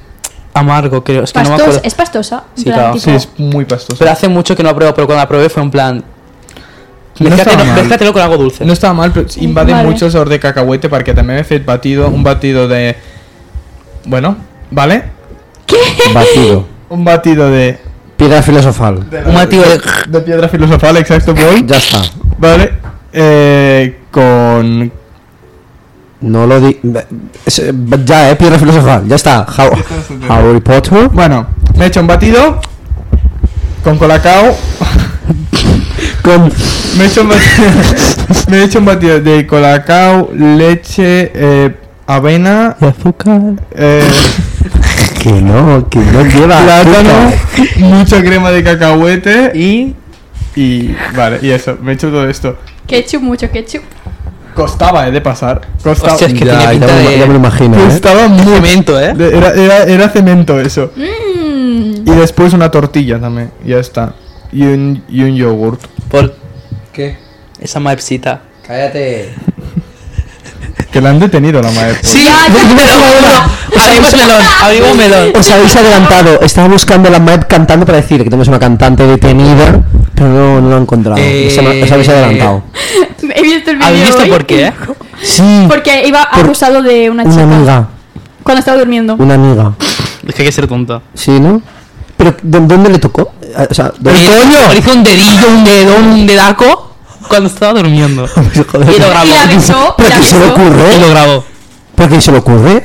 Speaker 1: amargo, creo. Es que no me
Speaker 3: Pastos,
Speaker 1: acuerdo.
Speaker 3: és pastosa? En
Speaker 1: Sí,
Speaker 3: plan,
Speaker 1: claro.
Speaker 3: tipo-
Speaker 2: Sí, es muy pastoso.
Speaker 1: Pero hace mucho que no la pruebo, pero cuando la probé fue en plan.
Speaker 2: No estaba
Speaker 1: Mezclatelo,
Speaker 2: mal.
Speaker 1: mezclatelo con algo dulce.
Speaker 2: No estava mal, però invade
Speaker 3: Vale.
Speaker 2: vale. mucho el sabor de cacahuete perquè també he fet batido, un batido de... Bueno, ¿vale?
Speaker 4: Batido.
Speaker 2: Un batido de...
Speaker 4: Piedra filosofal.
Speaker 1: Un batido de.
Speaker 2: De piedra filosofal, exacto, Paul.
Speaker 4: Ya está.
Speaker 2: Vale. Eh, con...
Speaker 4: No lo di. es- eh, Ya, eh, piedra filosofal. Ya está. How- Harry Potter.
Speaker 2: Bueno, me he hecho un batido con colacao
Speaker 4: Con...
Speaker 2: me he hecho un batido, me he hecho un batido de colacao, leche, eh, avena,
Speaker 1: Y azúcar.
Speaker 2: eh,
Speaker 4: Que no, que no
Speaker 1: Ah,
Speaker 4: lleva
Speaker 2: plátano,
Speaker 4: azúcar.
Speaker 2: mucha crema de cacahuete y,
Speaker 1: Y.
Speaker 2: vale, y eso, me he hecho todo esto.
Speaker 3: Ketchup, mucho ketchup.
Speaker 2: Costaba, eh, de pasar. Costaba.
Speaker 1: Hostia, es que
Speaker 4: Ya,
Speaker 1: tenía
Speaker 4: ya
Speaker 1: pinta
Speaker 4: me lo-
Speaker 1: de.
Speaker 4: ya me lo imagino, ¿eh?
Speaker 2: Costaba mucho.
Speaker 1: Cemento, ¿eh?
Speaker 2: De- Era, era, era cemento eso.
Speaker 3: Mmm.
Speaker 2: Y después una tortilla también, ya está. Y un, y un yogurt.
Speaker 1: Por
Speaker 8: ¿Qué?
Speaker 1: esa maepsita.
Speaker 8: Cállate.
Speaker 2: Que la han detenido la madre. pues.
Speaker 1: Sí,
Speaker 2: por-
Speaker 1: pero abrimos melón, abrimos melón.
Speaker 4: Os habéis adelantado. Estaba buscando la map cantando para decir que tenemos una cantante detenida, pero no, no la he encontrado.
Speaker 1: Eh,
Speaker 4: Os, ama- os habéis adelantado.
Speaker 3: He visto el video.
Speaker 1: ¿Habéis visto
Speaker 3: hoy.
Speaker 1: por qué? eh?
Speaker 4: Sí,
Speaker 3: Porque iba
Speaker 4: Por-
Speaker 3: acusado de una
Speaker 4: una
Speaker 3: chica.
Speaker 4: amiga.
Speaker 3: Cuando estaba durmiendo.
Speaker 4: Una amiga.
Speaker 1: Es que hay que ser tonto.
Speaker 4: Sí, ¿no? Pero ¿dó- ¿dónde le tocó? Eh, O sea, ¿dónde-
Speaker 1: Le hizo un dedillo, un dedo, un dedaco cuando estaba durmiendo.
Speaker 4: Joder.
Speaker 1: Y lo grabó.
Speaker 3: Y la besó.
Speaker 4: ¿Pero
Speaker 3: la
Speaker 4: qué se le
Speaker 3: besó.
Speaker 1: Y lo
Speaker 4: ocurre?
Speaker 1: grabó.
Speaker 4: ¿Pero qué se le ocurre?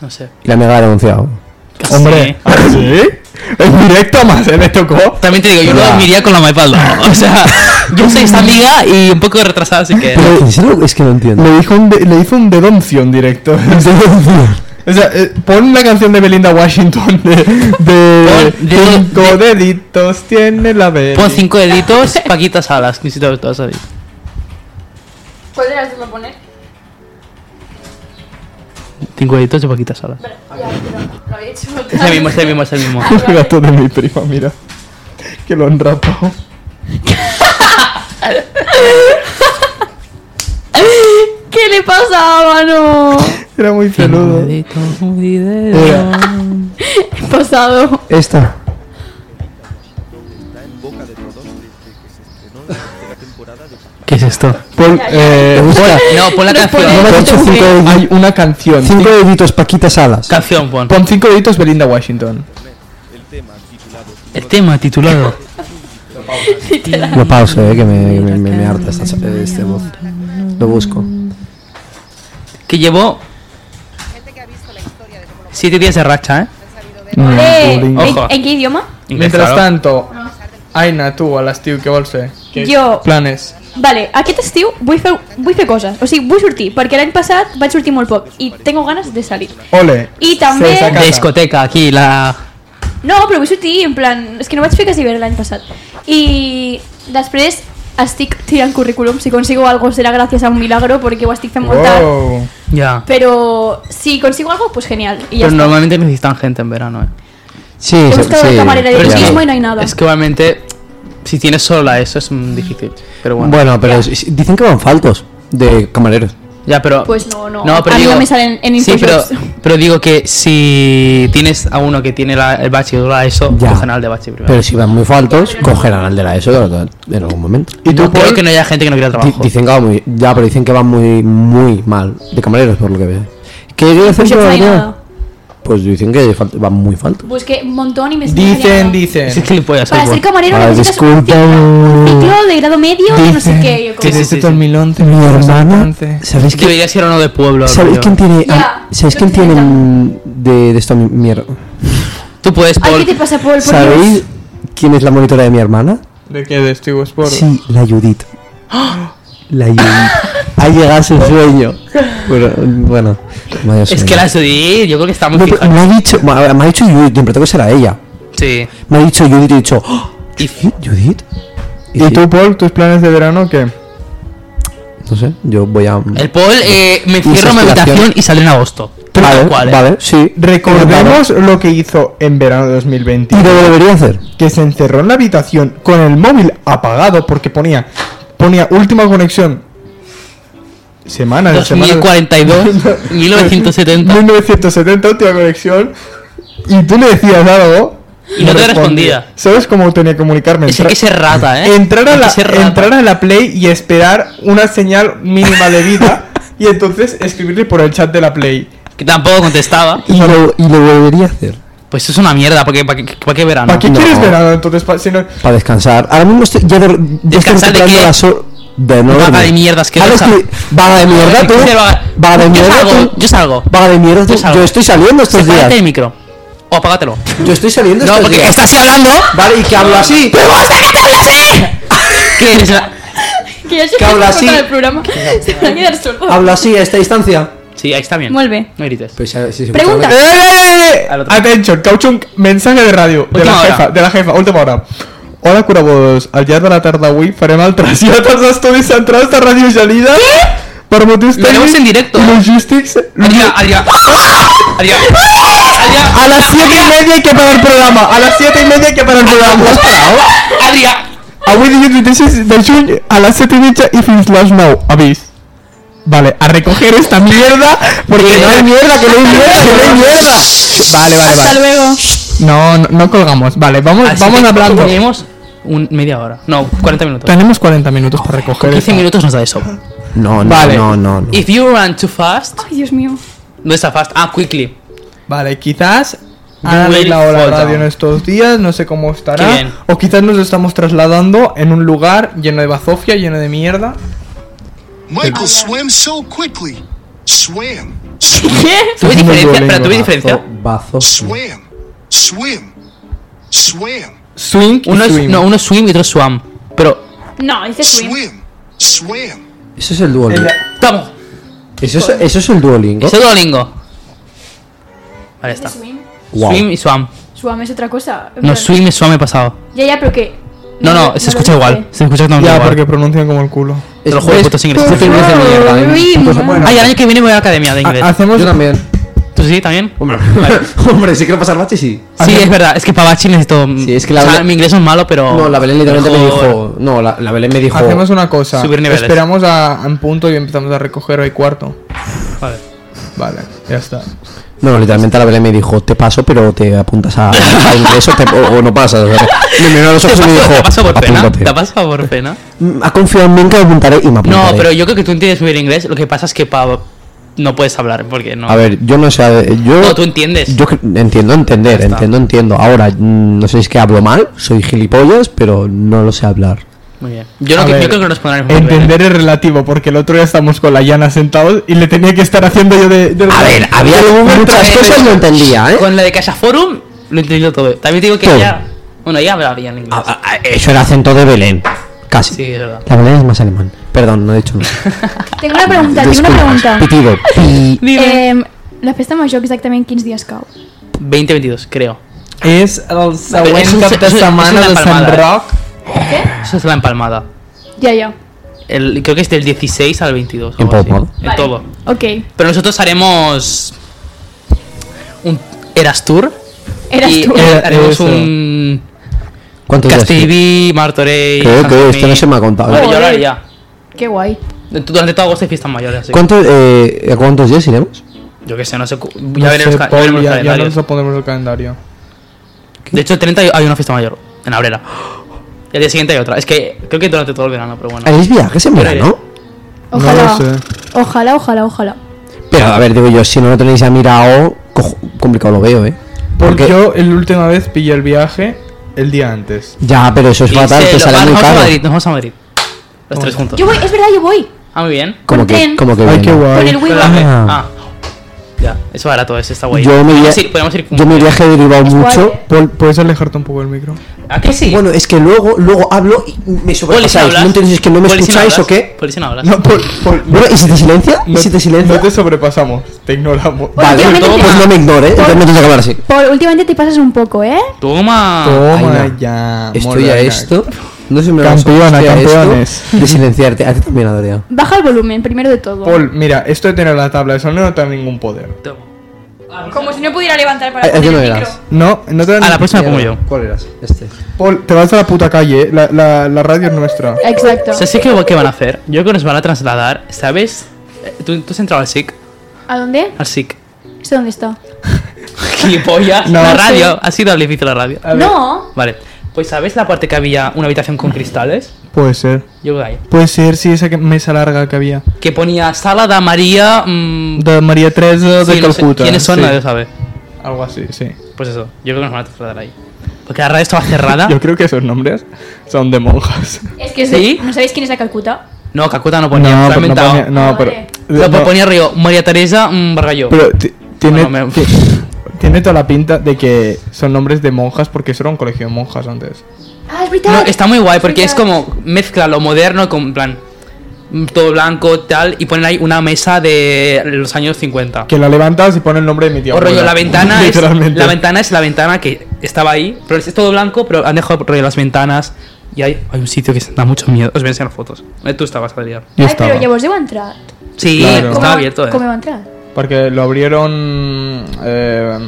Speaker 1: No sé.
Speaker 4: Y la amiga la ha denunciado.
Speaker 1: Hombre.
Speaker 2: ¿Ah, sí? En directo más, ¿eh? Me tocó.
Speaker 1: También te digo, yo lo
Speaker 4: Ya.
Speaker 1: dormiría con la maipalda. O sea, yo soy esta amiga y un poco retrasada, así que.
Speaker 4: Pero ¿en serio? es que no entiendo.
Speaker 2: Le, dijo un de- le hizo un dedoncio en directo. o sea, eh, pon la canción de Belinda Washington de. de
Speaker 1: Pon- de-
Speaker 2: cinco deditos tiene la vela.
Speaker 1: Pon cinco deditos, paquitas alas. Necesito ver todas ahí.
Speaker 3: ¿Cuál de las dos lo poner?
Speaker 1: Cinco deditos y paquitas alas.
Speaker 3: Ya, pero lo había hecho.
Speaker 1: Es el mismo, es el mismo, es el mismo.
Speaker 2: El gato de mi prima, mira. Que lo han rapado.
Speaker 3: ¿Qué le pasaba, mano?
Speaker 2: Era muy peludo.
Speaker 3: Pasado.
Speaker 4: Esta.
Speaker 1: ¿Qué es esto?
Speaker 2: Pon, eh,
Speaker 4: gusta?
Speaker 1: No, pon la
Speaker 3: No
Speaker 1: canción.
Speaker 4: No me has dicho cinco,
Speaker 2: pon- hay
Speaker 4: dedi-
Speaker 2: una canción.
Speaker 4: cinco deditos, Paquitas Alas.
Speaker 1: Canción, pon.
Speaker 2: Pon cinco deditos Belinda Washington.
Speaker 1: El tema titulado.
Speaker 4: Lo pauso, eh, que me, me, me- me harta esta, este voz. Lo busco.
Speaker 1: Que llevó. Siete días de racha, ¿eh?
Speaker 3: Eh, ¿en,
Speaker 1: Ojo.
Speaker 3: en qué idioma?
Speaker 2: Mientras
Speaker 1: Claro.
Speaker 2: tanto, Aina, tú, a las tío, què vols fer?
Speaker 3: Jo,
Speaker 2: Planes.
Speaker 3: Vale, aquest estiu vull fer, vull fer coses. O sigui, vull sortir, perquè l'any passat vaig sortir molt poc i tengo ganes de salir.
Speaker 2: Ole.
Speaker 3: I
Speaker 2: Sí,
Speaker 3: també...
Speaker 2: saca-
Speaker 1: Discoteca, aquí, la.
Speaker 3: No, però vull sortir, en plan... És que no vaig fer quasi bé l'any passat. I després estic tirant currículum. Si consigo algo serà gràcies a un milagro, perquè ho estic fent molt tard.
Speaker 2: Wow.
Speaker 1: Ya.
Speaker 3: Pero si consigo algo, pues genial. Y ya
Speaker 1: Pero
Speaker 3: está.
Speaker 1: normalmente necesitan gente en verano, ¿eh?
Speaker 4: Sí,
Speaker 3: He
Speaker 4: sí,
Speaker 3: buscado
Speaker 4: sí.
Speaker 3: camarera de
Speaker 1: Pero es que-
Speaker 3: turismo y no hay nada.
Speaker 1: Es que obviamente, si tienes solo la ESO es mm, difícil. Pero bueno.
Speaker 4: Bueno, pero si- si- dicen que van faltos de camareros.
Speaker 1: Ya, pero.
Speaker 3: Pues no, no.
Speaker 1: pero
Speaker 3: A mí no
Speaker 1: digo,
Speaker 3: me salen en
Speaker 1: Sí, pero,
Speaker 3: Infojobs.
Speaker 1: pero digo que si tienes a uno que tiene la- el bachi o la ESO,
Speaker 4: Ya.
Speaker 1: cogen al de bachi primero.
Speaker 4: Pero si van muy faltos, cogerán al de la ESO de- de- en algún momento.
Speaker 1: y
Speaker 2: tú,
Speaker 1: no creo
Speaker 2: Paul?
Speaker 1: que no haya gente que no quiera
Speaker 4: Di-
Speaker 1: trabajo.
Speaker 4: Dicen que van muy. Ya, pero dicen que van muy, muy mal de camareros, por lo que veo. ¿Qué yo
Speaker 3: Pues
Speaker 4: decir
Speaker 3: yo no hay
Speaker 4: que-
Speaker 3: nada.
Speaker 4: Pues dicen que fal- van muy faltos.
Speaker 3: Busqué un montón y me salió
Speaker 2: Dicen,
Speaker 3: nada.
Speaker 2: dicen.
Speaker 1: Sí, gilipollas,
Speaker 3: Para
Speaker 1: soy
Speaker 3: ser
Speaker 1: Paul.
Speaker 3: camarero
Speaker 4: Ah,
Speaker 3: necesitas un
Speaker 4: disculpa.
Speaker 3: ciclo de grado medio y no sé
Speaker 2: Dicen
Speaker 3: qué. Yo
Speaker 2: que
Speaker 3: como,
Speaker 1: Sí, sí,
Speaker 2: desde
Speaker 1: sí, sí.
Speaker 2: 2011
Speaker 4: Mi hermana. ¿Sabéis que
Speaker 1: Debería ser uno de pueblo. tío.
Speaker 4: ¿Sabéis quién tiene.
Speaker 3: Ya,
Speaker 4: ah, ¿Sabéis
Speaker 3: yo
Speaker 4: quién
Speaker 3: te
Speaker 4: tiene
Speaker 3: invento.
Speaker 4: mm, de, de esto mi- mierda?
Speaker 1: Tú puedes,
Speaker 3: Ay,
Speaker 1: Paul.
Speaker 3: ¿qué te pasa, Paul? Por
Speaker 4: ¿Sabéis
Speaker 3: Pues Dios.
Speaker 4: quién es la monitora de mi hermana?
Speaker 2: ¿De qué? ¿De Steve Sport?
Speaker 4: Sí, la Judith.
Speaker 1: ¡Ah!
Speaker 4: La Judith. ha llegado a su sueño. Bueno, bueno vaya
Speaker 1: Es
Speaker 4: sueño.
Speaker 1: que la Judith, yo creo que está muy
Speaker 4: No, pero
Speaker 1: fija.
Speaker 4: me ha dicho, me ha me ha dicho Judith, me parece que será ella.
Speaker 1: Sí.
Speaker 4: Me ha dicho Judith y he dicho, "Oh,
Speaker 1: Y-
Speaker 4: ¿Judith? ¿Judith?
Speaker 2: ¿Y
Speaker 4: sí,
Speaker 2: tú, Paul, tus planes de verano qué?
Speaker 4: No sé, yo voy a.
Speaker 1: El Paul, eh, me
Speaker 4: Mis
Speaker 1: cierro en mi habitación
Speaker 4: aspiraciones.
Speaker 1: y sale en agosto. Tal
Speaker 4: Vale,
Speaker 1: cual, eh.
Speaker 4: vale, sí.
Speaker 2: Recordemos lo que hizo en verano de 2020.
Speaker 4: Y lo debería hacer.
Speaker 2: Que se encerró en la habitación con el móvil apagado porque ponía, ponía última conexión. Semanas, de semanas.
Speaker 1: 2042, 1970.
Speaker 2: 1970, última conexión. Y tú le decías algo.
Speaker 1: Y no te respondía.
Speaker 2: ¿Sabes cómo tenía que comunicarme?
Speaker 1: Es que es rata, ¿eh?
Speaker 2: entrar, a
Speaker 1: Hay que
Speaker 2: la,
Speaker 1: ser rata.
Speaker 2: entrar a la Play y esperar una señal mínima de vida. y entonces escribirle por el chat de la Play.
Speaker 1: Que tampoco contestaba.
Speaker 4: Y lo, y lo debería hacer.
Speaker 1: Pues eso es una mierda, ¿para qué, para qué, para qué verano?
Speaker 2: ¿Para qué
Speaker 4: no.
Speaker 2: quieres verano entonces? Pa- si no-
Speaker 4: Para descansar. Ahora mismo estoy ya, de, ya estoy
Speaker 1: ¿Descansar de
Speaker 4: recuperando
Speaker 1: qué?
Speaker 4: las hor- De no
Speaker 1: Vaga
Speaker 4: dormir. Ah,
Speaker 1: de mierda asquerosa.
Speaker 4: Ahora estoy- Vaga de mierda, tú.
Speaker 1: Yo
Speaker 4: Vaga de
Speaker 1: salgo,
Speaker 4: mierda, tú.
Speaker 1: yo salgo.
Speaker 4: Vaga de mierda, tú.
Speaker 1: Yo salgo.
Speaker 4: Yo estoy saliendo estos
Speaker 1: Sepárate
Speaker 4: días.
Speaker 1: del micro. o apágatelo.
Speaker 8: Yo estoy saliendo
Speaker 1: No,
Speaker 8: estos
Speaker 1: porque
Speaker 8: días.
Speaker 1: está así hablando.
Speaker 8: Vale, y que hablo así.
Speaker 1: ¡Me gusta que te hablas así! ¿Qué eres? una-
Speaker 3: Que ja sé
Speaker 8: Que
Speaker 3: que
Speaker 8: habla
Speaker 3: estic
Speaker 8: així.
Speaker 3: el programa. Se va a quedar
Speaker 1: Ah,
Speaker 3: solo.
Speaker 8: Hablo así a esta distancia.
Speaker 1: Sí, ahí está bien.
Speaker 3: Molt bé.
Speaker 1: No grites.
Speaker 8: Pues si- si se
Speaker 3: Pregunta.
Speaker 8: escucha-
Speaker 1: Al otro.
Speaker 2: ¡Eh! Atención, Cauchun, mensaje de radio. de
Speaker 1: Última
Speaker 2: la
Speaker 1: hora.
Speaker 2: jefa, de la jefa, última hora. Hola, curavodos. Al llarg de la tarda avui farem el trasllat als estudis centrals de Ràdio Gelida. Per motius
Speaker 1: Lo haremos
Speaker 2: tècnics
Speaker 1: en directo.
Speaker 2: i logístics...
Speaker 1: Adrià, Adrià. Adrià. Adrià.
Speaker 2: A las 7 y media hay que parar el programa. A las 7 y media hay que parar el programa. Has parat?
Speaker 1: Adrià.
Speaker 2: Avui dilluns 26 de juny a les 7 i mitja i fins les 9. Avís. Vale, a recoger esta mierda porque no hay mierda, que no hay mierda, que no hay mierda. Vale, vale,
Speaker 3: Hasta
Speaker 2: vale.
Speaker 3: luego.
Speaker 2: No, no, no colgamos. Vale, vamos,
Speaker 1: Así
Speaker 2: Pues vamos
Speaker 1: que
Speaker 2: hablando.
Speaker 1: Tenemos un media hora. No, 40 minutos.
Speaker 2: Tenemos 40 minutos para recoger.
Speaker 1: 15
Speaker 2: esta.
Speaker 1: minutos nos da eso.
Speaker 4: No, no,
Speaker 2: Vale.
Speaker 4: no, no, no.
Speaker 1: If you run too fast,
Speaker 3: Ay, Dios mío.
Speaker 1: no está fast. Ah, quickly.
Speaker 2: Vale, quizás
Speaker 1: You
Speaker 2: han
Speaker 1: will
Speaker 2: arreglado la
Speaker 1: fall
Speaker 2: radio
Speaker 1: down.
Speaker 2: en estos días, no sé cómo
Speaker 1: Qué
Speaker 2: estará.
Speaker 1: bien.
Speaker 2: O quizás nos estamos trasladando en un lugar lleno de bazofia, lleno de mierda.
Speaker 11: Michael swam so quickly. Swam,
Speaker 1: ¿Tú ves diferencia? Espera, ¿tú ves diferencia?
Speaker 8: Bazo.
Speaker 11: swam, swim, swam,
Speaker 2: Swing y
Speaker 1: Uno es,
Speaker 2: swim.
Speaker 1: no, uno es swim y otro es swam. Pero,
Speaker 3: No, dice swim.
Speaker 11: swim, swam.
Speaker 4: Eso es el Duolingo.
Speaker 2: Ella-
Speaker 1: vamos.
Speaker 4: Eso es, eso es el Duolingo.
Speaker 1: Es el Duolingo. Vale, está.
Speaker 3: Swim.
Speaker 4: Wow.
Speaker 1: Swim y swam.
Speaker 3: Swam es otra cosa.
Speaker 1: No,
Speaker 3: Bueno,
Speaker 1: swim y swam he pasado.
Speaker 3: Ya, ya, pero que.
Speaker 1: No, no,
Speaker 3: lo
Speaker 1: se escucha
Speaker 3: dice.
Speaker 1: igual. Este Se escucha totalmente
Speaker 2: Ya,
Speaker 1: igual.
Speaker 2: porque pronuncian como el culo.
Speaker 1: Te lo juro,
Speaker 4: Es-
Speaker 1: putos ingleses.
Speaker 4: putos ingleses de mierda, ¿eh?
Speaker 1: Este
Speaker 3: Swim.
Speaker 4: Putos- bueno,
Speaker 1: Ay, el año que viene voy a la academia
Speaker 4: Ah,
Speaker 1: de inglés.
Speaker 2: Ha- hacemos,
Speaker 4: yo también.
Speaker 1: ¿Tú sí también?
Speaker 4: Hombre, hombre, si quiero pasar bache, sí.
Speaker 1: Sí, es verdad, es que para Bachi necesito.
Speaker 4: Sí, es que la
Speaker 1: o sea,
Speaker 4: Belén-
Speaker 1: mi inglés es malo, pero.
Speaker 4: No, la Belén literalmente me
Speaker 1: mejor.
Speaker 4: dijo. No, la, la Belén me dijo.
Speaker 2: hacemos una cosa.
Speaker 1: Subir niveles.
Speaker 2: Esperamos a, a un punto y empezamos a recoger hoy cuarto.
Speaker 1: Vale.
Speaker 2: Vale, ya está.
Speaker 4: No, no, literalmente la Belén me dijo, te paso, pero te apuntas a, a inglés o, te- o- o no pasas. o sea, me miró a los
Speaker 1: ¿Te
Speaker 4: ojos y
Speaker 1: paso,
Speaker 4: me dijo,
Speaker 1: te paso por pena?
Speaker 4: "Apúntate".
Speaker 1: ¿Te paso por pena?
Speaker 4: Mm, Ha confiado en mí en que me apuntaré y me apuntaré.
Speaker 1: No, pero yo creo que tú entiendes muy bien inglés. Lo que pasa es que pa... no puedes hablar porque no.
Speaker 4: A ver, yo no sé, a ver, yo...
Speaker 1: No, tú entiendes.
Speaker 4: Yo cre- entiendo entender, entiendo, entiendo. Ahora, mm, no sé si es que hablo mal, soy gilipollas, pero no lo sé hablar.
Speaker 1: Muy bien. Yo, no
Speaker 2: A
Speaker 1: que- yo
Speaker 2: ver,
Speaker 1: creo que nos pondrán en
Speaker 2: Entender es relativo, porque el otro día estamos con la Yana sentados y le tenía que estar haciendo yo de... de-
Speaker 4: A ver, había muchas cosas no entendía, ¿eh?
Speaker 1: Con la de Casa Forum lo he entendido todo. También te digo que
Speaker 4: Todo. Ah,
Speaker 1: ella. Bueno, ella hablaba bien inglés.
Speaker 4: A- a- a- eso era acento de Belén, casi.
Speaker 1: ah, eh. Sí, es verdad.
Speaker 4: La Belén es más alemán. Perdón, no he dicho nada.
Speaker 3: Tengo una pregunta, tengo una
Speaker 4: Disculpas.
Speaker 3: pregunta.
Speaker 4: Pitido. Pi-
Speaker 1: Dime.
Speaker 3: Em, la festa major exactament quins dies cau?
Speaker 1: 2022, creo.
Speaker 2: Es el
Speaker 1: Es
Speaker 2: següent
Speaker 1: un-
Speaker 2: cap
Speaker 1: es un-
Speaker 2: de
Speaker 1: es
Speaker 2: setmana
Speaker 1: una
Speaker 2: de Sant
Speaker 1: palmada, eh?
Speaker 2: Roc.
Speaker 1: Eso es la empalmada.
Speaker 3: Ja, ja.
Speaker 1: El, creo que es del 16 al 22.
Speaker 4: En
Speaker 1: algo así.
Speaker 4: Palmada.
Speaker 1: En todo.
Speaker 3: Ok.
Speaker 1: Pero nosotros haremos. Un Eras Tour.
Speaker 3: Eras
Speaker 1: y
Speaker 3: tu.
Speaker 1: eh, haremos
Speaker 2: Eso.
Speaker 1: un.
Speaker 4: ¿Cuántos días?
Speaker 1: Castivi, Martorey.
Speaker 4: Creo que
Speaker 1: Sanjomí.
Speaker 4: esto no se me ha contado. ¿eh?
Speaker 1: Bueno, yo
Speaker 3: Joder.
Speaker 1: lo haré ya.
Speaker 3: Que guai.
Speaker 1: Durante todo agosto hay fiestas mayores. Así que
Speaker 4: ¿Cuántos, eh, ¿A cuántos días iremos?
Speaker 1: yo que sé, no sé. cu- Ya
Speaker 2: No
Speaker 1: veremos,
Speaker 2: sé,
Speaker 1: ca- ya
Speaker 2: Paul,
Speaker 1: veremos
Speaker 2: ya- ya
Speaker 1: calendarios.
Speaker 2: nos lo ponemos en el calendario.
Speaker 1: De hecho, el 30 hay- hay una fiesta mayor. En Abrera. Y al día siguiente hay otra. Es que creo que durante todo el verano, pero bueno.
Speaker 4: ¿Haréis viajes en
Speaker 1: Yo lo
Speaker 4: verano?
Speaker 3: Ojalá.
Speaker 2: No lo sé.
Speaker 3: Ojalá, ojalá, ojalá.
Speaker 4: Pero a ver, digo yo, si no lo tenéis a mirado, cojo- complicado lo veo, ¿eh?
Speaker 1: Pues
Speaker 2: Porque yo el última vez pillé el viaje el día antes.
Speaker 4: Ya, pero eso es
Speaker 1: Y
Speaker 4: fatal,
Speaker 1: se-
Speaker 4: te
Speaker 1: lo-
Speaker 4: sale
Speaker 1: vamos
Speaker 4: muy
Speaker 1: a
Speaker 4: caro.
Speaker 1: Madrid, nos vamos a Madrid. Los tres juntos.
Speaker 3: Yo voy, es verdad, yo voy.
Speaker 1: Ah, muy bien.
Speaker 4: Como
Speaker 3: Con
Speaker 4: que,
Speaker 3: tren.
Speaker 4: como que
Speaker 2: Ay,
Speaker 4: bien.
Speaker 2: qué
Speaker 3: Con
Speaker 2: guay.
Speaker 3: el Wii
Speaker 1: Ah.
Speaker 4: Ah.
Speaker 1: Ya, es barato, es esta guay.
Speaker 4: Yo me,
Speaker 1: Podemos
Speaker 4: via-
Speaker 1: ir, podemos ir
Speaker 4: yo me viaje he derivado mucho.
Speaker 3: guay,
Speaker 2: Paul, ¿puedes alejarte un poco del micro?
Speaker 1: ¿A qué sí?
Speaker 4: Bueno, es que luego, luego hablo y me
Speaker 1: Poli, si
Speaker 4: sobrepasáis.
Speaker 1: hablas.
Speaker 4: ¿No entendéis es que no me
Speaker 1: Poli, si
Speaker 4: escucháis
Speaker 1: hablas.
Speaker 4: o qué?
Speaker 1: Poli, si no hablas.
Speaker 2: No, Paul, Paul, no,
Speaker 4: Bueno, ¿y si te silencia? ¿Y
Speaker 2: no-
Speaker 4: si te silencia?
Speaker 2: no te sobrepasamos, te ignoramos.
Speaker 3: Oye,
Speaker 4: Vale,
Speaker 3: últimamente
Speaker 4: pues
Speaker 3: te-
Speaker 4: no me ignore, entonces me tienes que hablar así.
Speaker 3: Paul, últimamente te pasas un poco, ¿eh?
Speaker 1: Toma.
Speaker 2: Toma
Speaker 4: Ay, no.
Speaker 2: ya.
Speaker 4: Estoy
Speaker 2: Morgana.
Speaker 4: a esto. No sé me
Speaker 2: Campeona, campeones.
Speaker 4: De silenciarte. A ti también, Adrián.
Speaker 3: Baja el volumen, primero de todo.
Speaker 2: Paul, mira, esto de tener la tabla de sonido no te da ningún poder.
Speaker 1: Toma.
Speaker 3: Como si no pudiera levantar
Speaker 4: Eh, poner yo el no micro. eras.
Speaker 2: No, no te da
Speaker 1: A la
Speaker 2: ningún-
Speaker 1: próxima como yo.
Speaker 4: ¿Cuál eras? Este.
Speaker 2: Paul, te vas a la puta calle, eh. la, la, la radio es nuestra.
Speaker 3: Exacto.
Speaker 1: O sea, ¿sí que, qué van a hacer? Yo creo que nos van a trasladar, ¿sabes? Eh, ¿Tú, tú has entrado al SIC?
Speaker 3: ¿A dónde?
Speaker 1: Al SIC.
Speaker 3: ¿Esto dónde está?
Speaker 1: Gilipollas.
Speaker 2: No.
Speaker 1: la radio. ¿Has ido al edificio de la radio?
Speaker 2: ver.
Speaker 3: No.
Speaker 1: Vale. Pues, ¿sabes la parte que había una habitación con cristales?
Speaker 2: Puede ser.
Speaker 1: Yo creo que ahí.
Speaker 2: Puede ser, sí, esa que- mesa larga que había.
Speaker 1: Que ponía sala de María. mm,
Speaker 2: De María Teresa de
Speaker 1: sí, no sé
Speaker 2: Calcuta.
Speaker 1: ¿Quiénes son?
Speaker 2: sí.
Speaker 1: Nadie lo sabe.
Speaker 2: Algo así, sí.
Speaker 1: Pues eso, yo creo que nos van a trasladar ahí. Porque la radio estaba cerrada.
Speaker 2: Yo creo que esos nombres son de monjas.
Speaker 3: Es que es
Speaker 1: ¿Sí?
Speaker 3: de- ¿No sabéis quién es la Calcuta?
Speaker 1: No, Cacuta no ponía. No,
Speaker 2: pero
Speaker 1: no,
Speaker 2: ponía- no, pero.
Speaker 1: ponía Río. María Teresa mm, Bargallo.
Speaker 2: pero ti- tiene.
Speaker 1: Bueno, me-
Speaker 2: ti- Tiene toda la pinta de que son nombres de monjas porque eso era un colegio de monjas antes.
Speaker 3: Ah, es verdad.
Speaker 1: No, está muy guay porque es
Speaker 3: verdad.
Speaker 1: como mezcla lo moderno con en plan mm, todo blanco tal y ponen ahí una mesa de los años 50.
Speaker 2: Que la levantas y pone el nombre de mi tía.
Speaker 1: O Oh, rollo,
Speaker 2: abuela.
Speaker 1: la ventana, es,
Speaker 2: Literalmente.
Speaker 1: la ventana es la ventana que estaba ahí, pero es todo blanco, pero han dejado rollo las ventanas y hay, hay un sitio que da mucho miedo. Os voy a enseñar fotos. Eh, Tú estabas, Adrián.
Speaker 2: Yo
Speaker 3: Ai, però
Speaker 2: estaba.
Speaker 3: llavors deu entrar.
Speaker 1: Sí,
Speaker 2: Claro.
Speaker 1: estaba abierto. eh.
Speaker 3: Com heu entrat?
Speaker 2: Porque lo abrieron. Eh,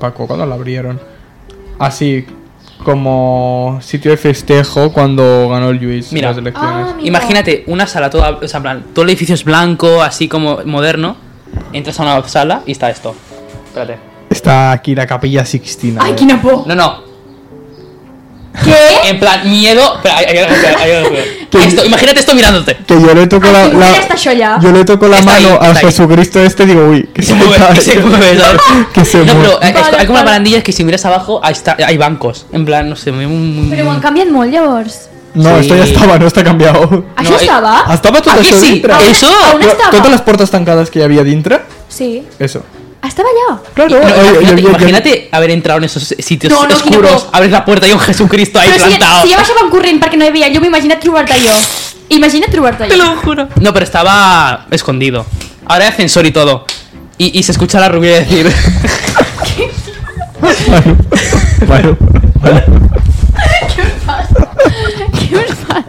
Speaker 2: Paco, ¿cuándo lo abrieron? Así, como sitio de festejo cuando ganó el Luis
Speaker 1: Mira.
Speaker 2: las elecciones.
Speaker 3: Ah, mira.
Speaker 1: Imagínate una sala toda, o sea, en plan, todo el edificio es blanco, así como moderno. Entras a una sala y está esto. Espérate.
Speaker 2: Está aquí la Capilla Sixtina.
Speaker 3: Ai,
Speaker 2: eh.
Speaker 3: quina por.
Speaker 1: No, no,
Speaker 3: Què?
Speaker 1: En plan, miedo. Espera, hay, hay algo peor, hay algo peor. Esto, imagínate esto mirándote.
Speaker 2: Que yo le toco la,
Speaker 3: Ai,
Speaker 2: la-
Speaker 3: la... està això allà?
Speaker 2: yo le toco la
Speaker 1: Está ahí,
Speaker 2: mano a
Speaker 1: está ahí.
Speaker 2: Jesucristo este y digo, uy, que
Speaker 1: Y se
Speaker 2: se,
Speaker 1: mueve,
Speaker 2: cae.
Speaker 1: y se mueve, ¿sabes?
Speaker 2: Que se
Speaker 1: No,
Speaker 2: mueve.
Speaker 1: pero hay,
Speaker 3: Vale,
Speaker 1: hay como
Speaker 3: vale.
Speaker 1: una barandilla que si miras abajo ahí está- hay bancos. En plan, no sé, muy. muy-
Speaker 3: Però ho
Speaker 1: muy-
Speaker 3: han canviat molt, llavors.
Speaker 2: No,
Speaker 1: Sí.
Speaker 2: esto ya estaba, no está cambiado.
Speaker 3: Això
Speaker 1: No,
Speaker 3: no,
Speaker 1: eh,
Speaker 3: estava?
Speaker 2: Estaba todo
Speaker 1: Aquí
Speaker 2: eso
Speaker 1: sí,
Speaker 2: dintre.
Speaker 1: ahí- eso?
Speaker 3: On, on
Speaker 2: Lo-
Speaker 3: estava?
Speaker 2: Todas las puertas tancadas que había dentro,
Speaker 3: Sí. Ah,
Speaker 2: eso.
Speaker 3: Estava allà?
Speaker 2: Claro,
Speaker 1: No,
Speaker 2: eh, eh,
Speaker 1: imagínate,
Speaker 2: yo- yo-
Speaker 1: imagínate haber entrado en esos sitios
Speaker 3: No, no,
Speaker 1: oscuros.
Speaker 3: Kiko.
Speaker 1: Abres la puerta y hay un Jesucristo ahí
Speaker 3: Però si,
Speaker 1: plantado.
Speaker 3: si ja baixàvem corrent perquè no hi havia llum, imagina't trobar-te allò. Imagina't trobar-te allò.
Speaker 1: No, pero estaba escondido. Ahora hay ascensor y todo. Y, y se escucha a la rubia decir.
Speaker 2: Bueno,
Speaker 3: Què us fas?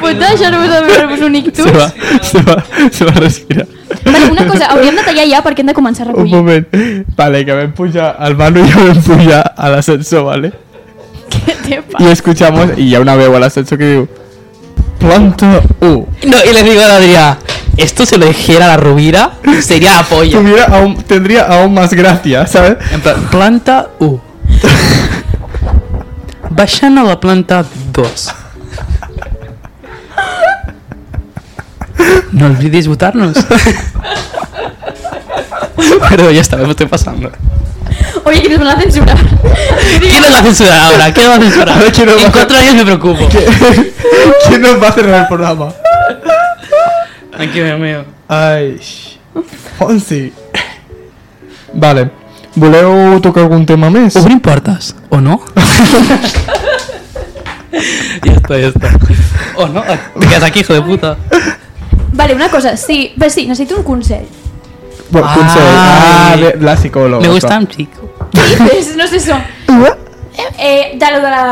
Speaker 3: Puta, això no m'ho sabeu, és un ictus.
Speaker 2: se va, se va, se va a respirar.
Speaker 3: Vale, una cosa, hauríem de tallar ja perquè hem de començar a
Speaker 2: Un
Speaker 3: recollir.
Speaker 2: moment. Vale, que ven puja al Manu y yo ven puja al ascenso, ¿vale?
Speaker 3: Què te
Speaker 2: Y
Speaker 3: passa?
Speaker 2: escuchamos, y ya una veo al ascenso que digo, uh". planta U.
Speaker 1: No, y le digo a la Adrián, esto se lo dijera a la rubira, sería la polla.
Speaker 2: Tuviera aún, tendría aún más gracia, ¿sabes?
Speaker 1: En plan, planta U. Vayan a la planta 2. No olvidéis votarnos. Pero ya está, me estoy pasando.
Speaker 3: Oye, que nos van a censurar.
Speaker 1: ¿Quién nos va a censurar ahora? ¿Quién nos va a censurar?
Speaker 2: Ahora quiero-
Speaker 1: En cuatro años me preocupo.
Speaker 2: ¿Quién nos va a cerrar el programa?
Speaker 1: Aquí me meo.
Speaker 2: Ai, Fonsi. Vale. Voleu tocar algun tema més?
Speaker 1: ¿Obrin puertas? ¿O no? ya está, ya está. ¿O no? Te quedas aquí, hijo de puta.
Speaker 3: Vale, una cosa, sí, però sí, necessito un consell.
Speaker 2: Bueno, consell.
Speaker 1: Ai.
Speaker 2: Ah, bé, la psicòloga.
Speaker 1: Me gusta un chico.
Speaker 3: Dices, no sé això. Eh, de lo de la,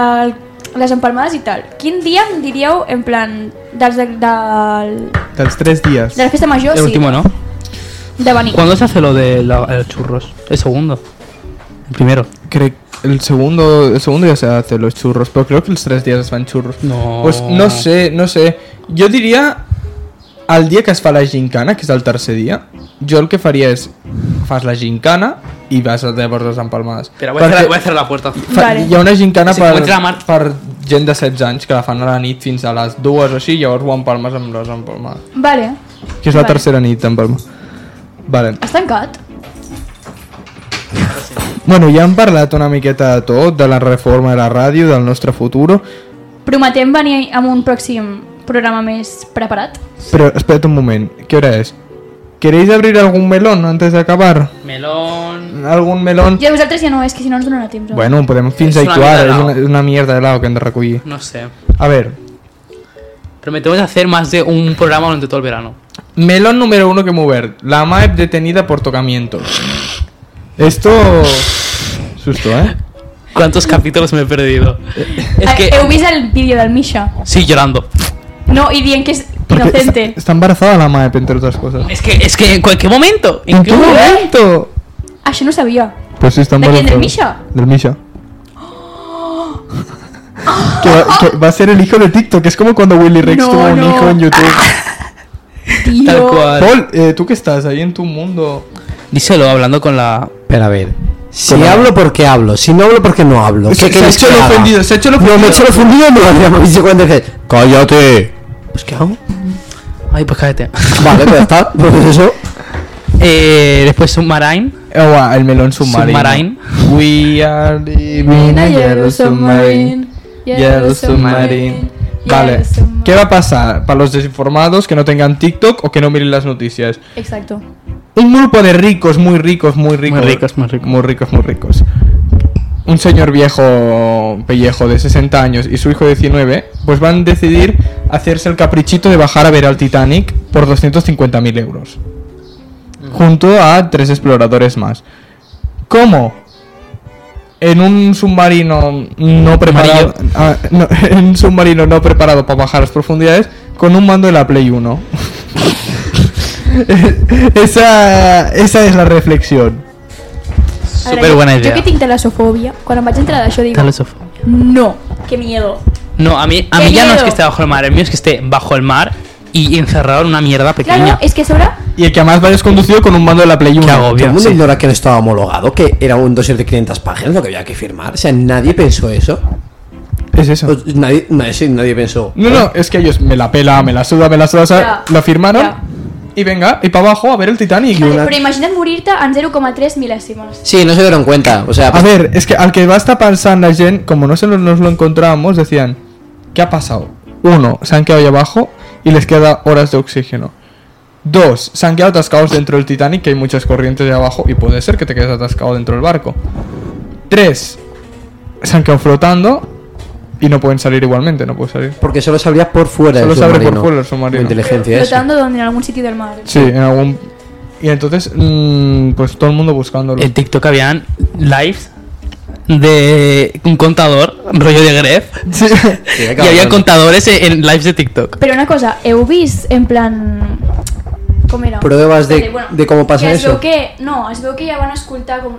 Speaker 3: les empalmades i tal. Quin dia em diríeu, en plan, dels de, del,
Speaker 2: Dels tres dies.
Speaker 3: de la festa major,
Speaker 1: El
Speaker 3: sí,
Speaker 1: último, ¿no?
Speaker 3: de venir?
Speaker 1: ¿Cuándo se hace lo de la- el churros? El segundo. El primero.
Speaker 2: Crec el segundo, el segundo ya se hace los churros, pero creo que los tres días es van churros.
Speaker 1: No.
Speaker 2: Pues no sé, no sé. Jo diria el dia que es fa la gincana, que és el tercer dia, jo el que faria és fas la gincana i vas a llavors les empalmades.
Speaker 1: Espera, voy a, cerrar,
Speaker 2: Perquè-
Speaker 1: voy a cerrar la puerta.
Speaker 2: Fa,
Speaker 3: Vale.
Speaker 2: Hi ha una gincana
Speaker 1: Si
Speaker 2: per,
Speaker 1: encuentra la mar-
Speaker 2: per gent de 16 anys que la fan a la nit fins a les dues o així, llavors ho empalmes amb les empalmades.
Speaker 3: Vale,
Speaker 2: Que és la
Speaker 3: Vale.
Speaker 2: tercera nit d'empalma. Vale.
Speaker 3: has tancat?
Speaker 2: Bueno, ja hem parlat una miqueta de tot, de la reforma de la ràdio, del nostre futur,
Speaker 3: Prometem venir amb un pròxim programa més preparat?
Speaker 2: però espera't un moment, què hora és? ¿Queréis abrir algún melón antes de acabar?
Speaker 1: Melón.
Speaker 2: ¿Algún melón?
Speaker 3: I a vosaltres ja no, és que si no ens donarà temps. home.
Speaker 2: Bueno, podem
Speaker 1: És
Speaker 2: fins a
Speaker 1: una
Speaker 2: actuar,
Speaker 1: mierda de
Speaker 2: és
Speaker 1: lao.
Speaker 2: una, és una mierda de lao que hem de recollir.
Speaker 1: No sé.
Speaker 2: A veure,
Speaker 1: Prometemos hacer más de un programa durante todo el verano.
Speaker 2: melón número uno que hem obert, la MAEP detenida por tocamiento. Esto... Susto, eh?
Speaker 1: ¿Cuántos capítulos me he perdido? Es
Speaker 3: Eh,
Speaker 1: que.
Speaker 3: Heu vist el vídeo del Misha?
Speaker 1: Sí, llorando.
Speaker 3: No, i dient que és
Speaker 2: Porque
Speaker 3: inocente.
Speaker 2: Está, está embarazada la MAEP, entre otras cosas.
Speaker 1: Es que, es que en cualquier momento. ¿eh? ¿En
Speaker 2: ¿En
Speaker 1: qué
Speaker 2: qué
Speaker 1: momento?
Speaker 2: momento?
Speaker 3: Això Ah, no ho sabia.
Speaker 2: Pues sí, está
Speaker 3: ¿De quién?
Speaker 2: embarazada. Del
Speaker 3: ¿Del Misha?
Speaker 2: Misha. Que va, que va a ser el hijo de TikTok, es como cuando Willy Rex
Speaker 3: No,
Speaker 2: tuvo un
Speaker 3: no.
Speaker 2: hijo en YouTube.
Speaker 3: Tio.
Speaker 1: Tal cual.
Speaker 2: Paul, eh, tú que estás ahí en tu mundo.
Speaker 1: Díselo hablando con la.
Speaker 4: Pero a ver. Si
Speaker 2: Con-
Speaker 4: hablo porque hablo, si no hablo porque no hablo.
Speaker 2: Se-
Speaker 4: ¿Qué
Speaker 2: se ha
Speaker 4: queréis
Speaker 2: hecho
Speaker 4: que
Speaker 2: el
Speaker 4: haga?
Speaker 2: ofendido, se ha hecho el
Speaker 4: No, me he
Speaker 2: ofendido.
Speaker 4: hecho el ofendido, no lo habíamos dicho cuando dije, cállate. Pues ¿qué hago?
Speaker 1: Ay, pues cállate.
Speaker 4: Vale, pues ya está, pues eso.
Speaker 1: Eh, después Submarine.
Speaker 2: Agua, Oh, el melón submarino.
Speaker 1: Submarine.
Speaker 2: We are living
Speaker 3: In
Speaker 2: a
Speaker 3: a
Speaker 2: yellow
Speaker 3: yellow
Speaker 2: submarine.
Speaker 3: submarine.
Speaker 2: Yellow submarine. Vale, ¿qué va a pasar? Para los desinformados que no tengan TikTok o que no miren las noticias.
Speaker 3: Exacto.
Speaker 2: Un grupo de ricos, muy ricos, muy ricos.
Speaker 12: Muy ricos, muy ricos.
Speaker 2: Muy ricos, muy ricos. Un señor viejo pellejo de 60 años y su hijo de 19, pues van a decidir hacerse el caprichito de bajar a ver al Titanic por 250.000 euros.
Speaker 12: Mm.
Speaker 2: Junto a tres exploradores más. ¿Cómo? En un submarino no preparado. ah, no, en un submarino no preparado para bajar a las profundidades con un mando de la Play 1. esa, esa es la reflexión.
Speaker 3: Ara,
Speaker 12: Súper buena
Speaker 3: jo-
Speaker 12: idea.
Speaker 3: Jo que tinc talassofòbia, quan em vaig entrar d'això dic...
Speaker 12: Talassofòbia.
Speaker 3: No, que miedo.
Speaker 1: No, a mí, a
Speaker 3: ¡Qué
Speaker 1: mí ya no es
Speaker 3: miedo!
Speaker 1: que esté bajo el mar, el mío es que esté bajo el mar y encerrado en una mierda
Speaker 3: Claro,
Speaker 1: pequeña.
Speaker 3: es que a sobre...
Speaker 2: Y el que además vayas conducido con un mando de la Play 1.
Speaker 1: Qué
Speaker 4: Todo el
Speaker 1: agobio.
Speaker 4: mundo
Speaker 1: sí.
Speaker 4: ignora que no estaba homologado, que era un dossier de 500 páginas lo que había que firmar. O sea, nadie pensó eso.
Speaker 2: Es eso.
Speaker 4: O- Nadie, nadie, sí, nadie pensó.
Speaker 2: No, no, es que ellos me la pela, me la suda, me la suda, ¿sabes?
Speaker 3: Ya.
Speaker 2: lo firmaron.
Speaker 3: Ya.
Speaker 2: Y venga, y para abajo a ver el Titanic.
Speaker 3: Vale, però imagina't morir-te en 0,3 mil·lèsimes.
Speaker 4: Sí, no se dieron cuenta. O sea,
Speaker 2: A ver, es que al que va a estar pensando la gente, como no se lo- nos lo encontrábamos, decían, ¿qué ha pasado? Uno, se han quedado ahí abajo y les queda horas de oxígeno. Dos, se han quedado atascados dentro del Titanic, que hay muchas corrientes de abajo y puede ser que te quedes atascado dentro del barco. Tres, se han quedado flotando y no pueden salir igualmente, no pueden salir.
Speaker 4: porque solo se abría por fuera
Speaker 2: Solo
Speaker 4: del
Speaker 2: se abre por
Speaker 4: submarino.
Speaker 2: fuera el submarino.
Speaker 4: Muy inteligencia eso.
Speaker 3: Flotando donde, en algún sitio del mar.
Speaker 2: Sí, en algún... Y entonces, mm, pues todo el mundo buscándolo.
Speaker 1: En TikTok habían lives de un contador, rollo de Gref.
Speaker 4: qué
Speaker 1: y había
Speaker 4: cabrón.
Speaker 1: contadores en en lives de TikTok.
Speaker 3: Però una cosa, heu vist en plan... Com era?
Speaker 4: Pruebes de- de cómo pasa
Speaker 3: que es
Speaker 4: eso.
Speaker 3: Veu que, no, es veu que ja van escoltar com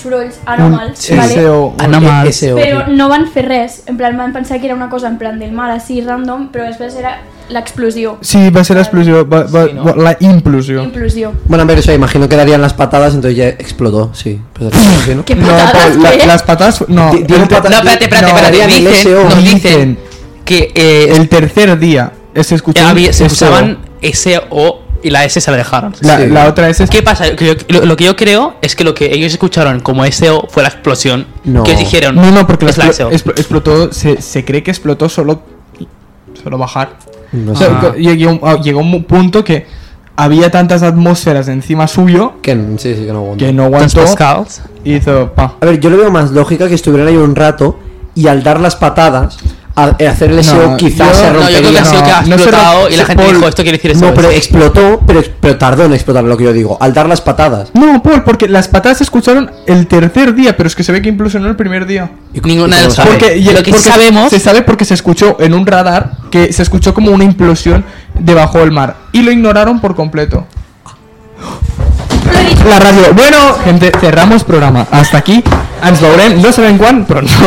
Speaker 3: sorolls anòmals,
Speaker 2: Sí,
Speaker 3: vale?
Speaker 2: SEO.
Speaker 1: Anomals.
Speaker 4: Ese ovni.
Speaker 3: però no van fer res. En plan, van pensar que era una cosa en plan del mar, així, random, però després era l'explosió.
Speaker 2: Sí, va a ser la explosión, va- va- va- la implosión.
Speaker 3: Implosió.
Speaker 4: Bueno, a ver, eso imagino que darían las patadas, entonces ya explotó, sí. Pues, sí, ¿no?
Speaker 3: Que
Speaker 2: No,
Speaker 3: patades,
Speaker 2: Pau, la-
Speaker 3: eh?
Speaker 2: las patas. No,
Speaker 4: Di- di
Speaker 2: el,
Speaker 4: un
Speaker 2: ter-
Speaker 4: pata-
Speaker 1: No, espérate, espérate,
Speaker 4: No,
Speaker 1: espérate.
Speaker 4: habían
Speaker 1: Dicen,
Speaker 4: SEO.
Speaker 1: nos
Speaker 2: Dicen.
Speaker 1: dicen que eh,
Speaker 2: el tercer día se escuchó. un
Speaker 1: había- se
Speaker 2: escuchó.
Speaker 1: usaban SO y la S se la dejaron.
Speaker 2: La,
Speaker 4: Sí.
Speaker 2: la otra es.
Speaker 1: ¿Qué pasa? Que yo- lo, lo que yo creo es que lo que ellos escucharon como SEO fue la explosión.
Speaker 4: No.
Speaker 1: Que ellos dijeron.
Speaker 2: No, no, porque la
Speaker 1: es la
Speaker 2: explo-
Speaker 1: SEO.
Speaker 2: explo- explotó. Se, se cree que explotó solo. Solo bajar.
Speaker 4: No
Speaker 2: O
Speaker 4: sé.
Speaker 2: sea, que llegó, a- llegó un punto que había tantas atmósferas encima suyo
Speaker 4: Que n- sí, sí, que no aguanto.
Speaker 2: que no aguantó.
Speaker 1: Tantos Pascals.
Speaker 2: Y hizo. Pa.
Speaker 4: A ver, yo le veo más lógica que estuvieran ahí un rato y al dar las patadas, al al hacer el
Speaker 2: No,
Speaker 4: SEO
Speaker 2: yo-
Speaker 4: quizás se
Speaker 1: No, yo
Speaker 4: rompería.
Speaker 1: creo que ha sido que ha
Speaker 2: No, no se
Speaker 1: explotado
Speaker 2: rom-
Speaker 1: y la
Speaker 2: se-
Speaker 1: gente
Speaker 2: Paul,
Speaker 1: dijo esto quiere decir eso.
Speaker 4: No, pero
Speaker 1: eso".
Speaker 4: explotó, pero, pero tardó en explotar lo que yo digo. Al dar las patadas.
Speaker 2: No, Paul, porque las patadas se escucharon el tercer día, pero es que se ve que implosionó el primer día.
Speaker 1: Ninguna de
Speaker 4: ¿Y
Speaker 1: las
Speaker 4: cómo
Speaker 1: sabe.
Speaker 4: sabe?
Speaker 2: Porque, y-
Speaker 1: lo que
Speaker 2: porque
Speaker 1: sabemos
Speaker 2: Se sabe porque se escuchó en un radar que se escuchó como una implosión debajo del mar. Y lo ignoraron por completo. La radio. Bueno, gente, cerramos programa. Hasta aquí. Ens veurem, no sabem quan, però ens veurem.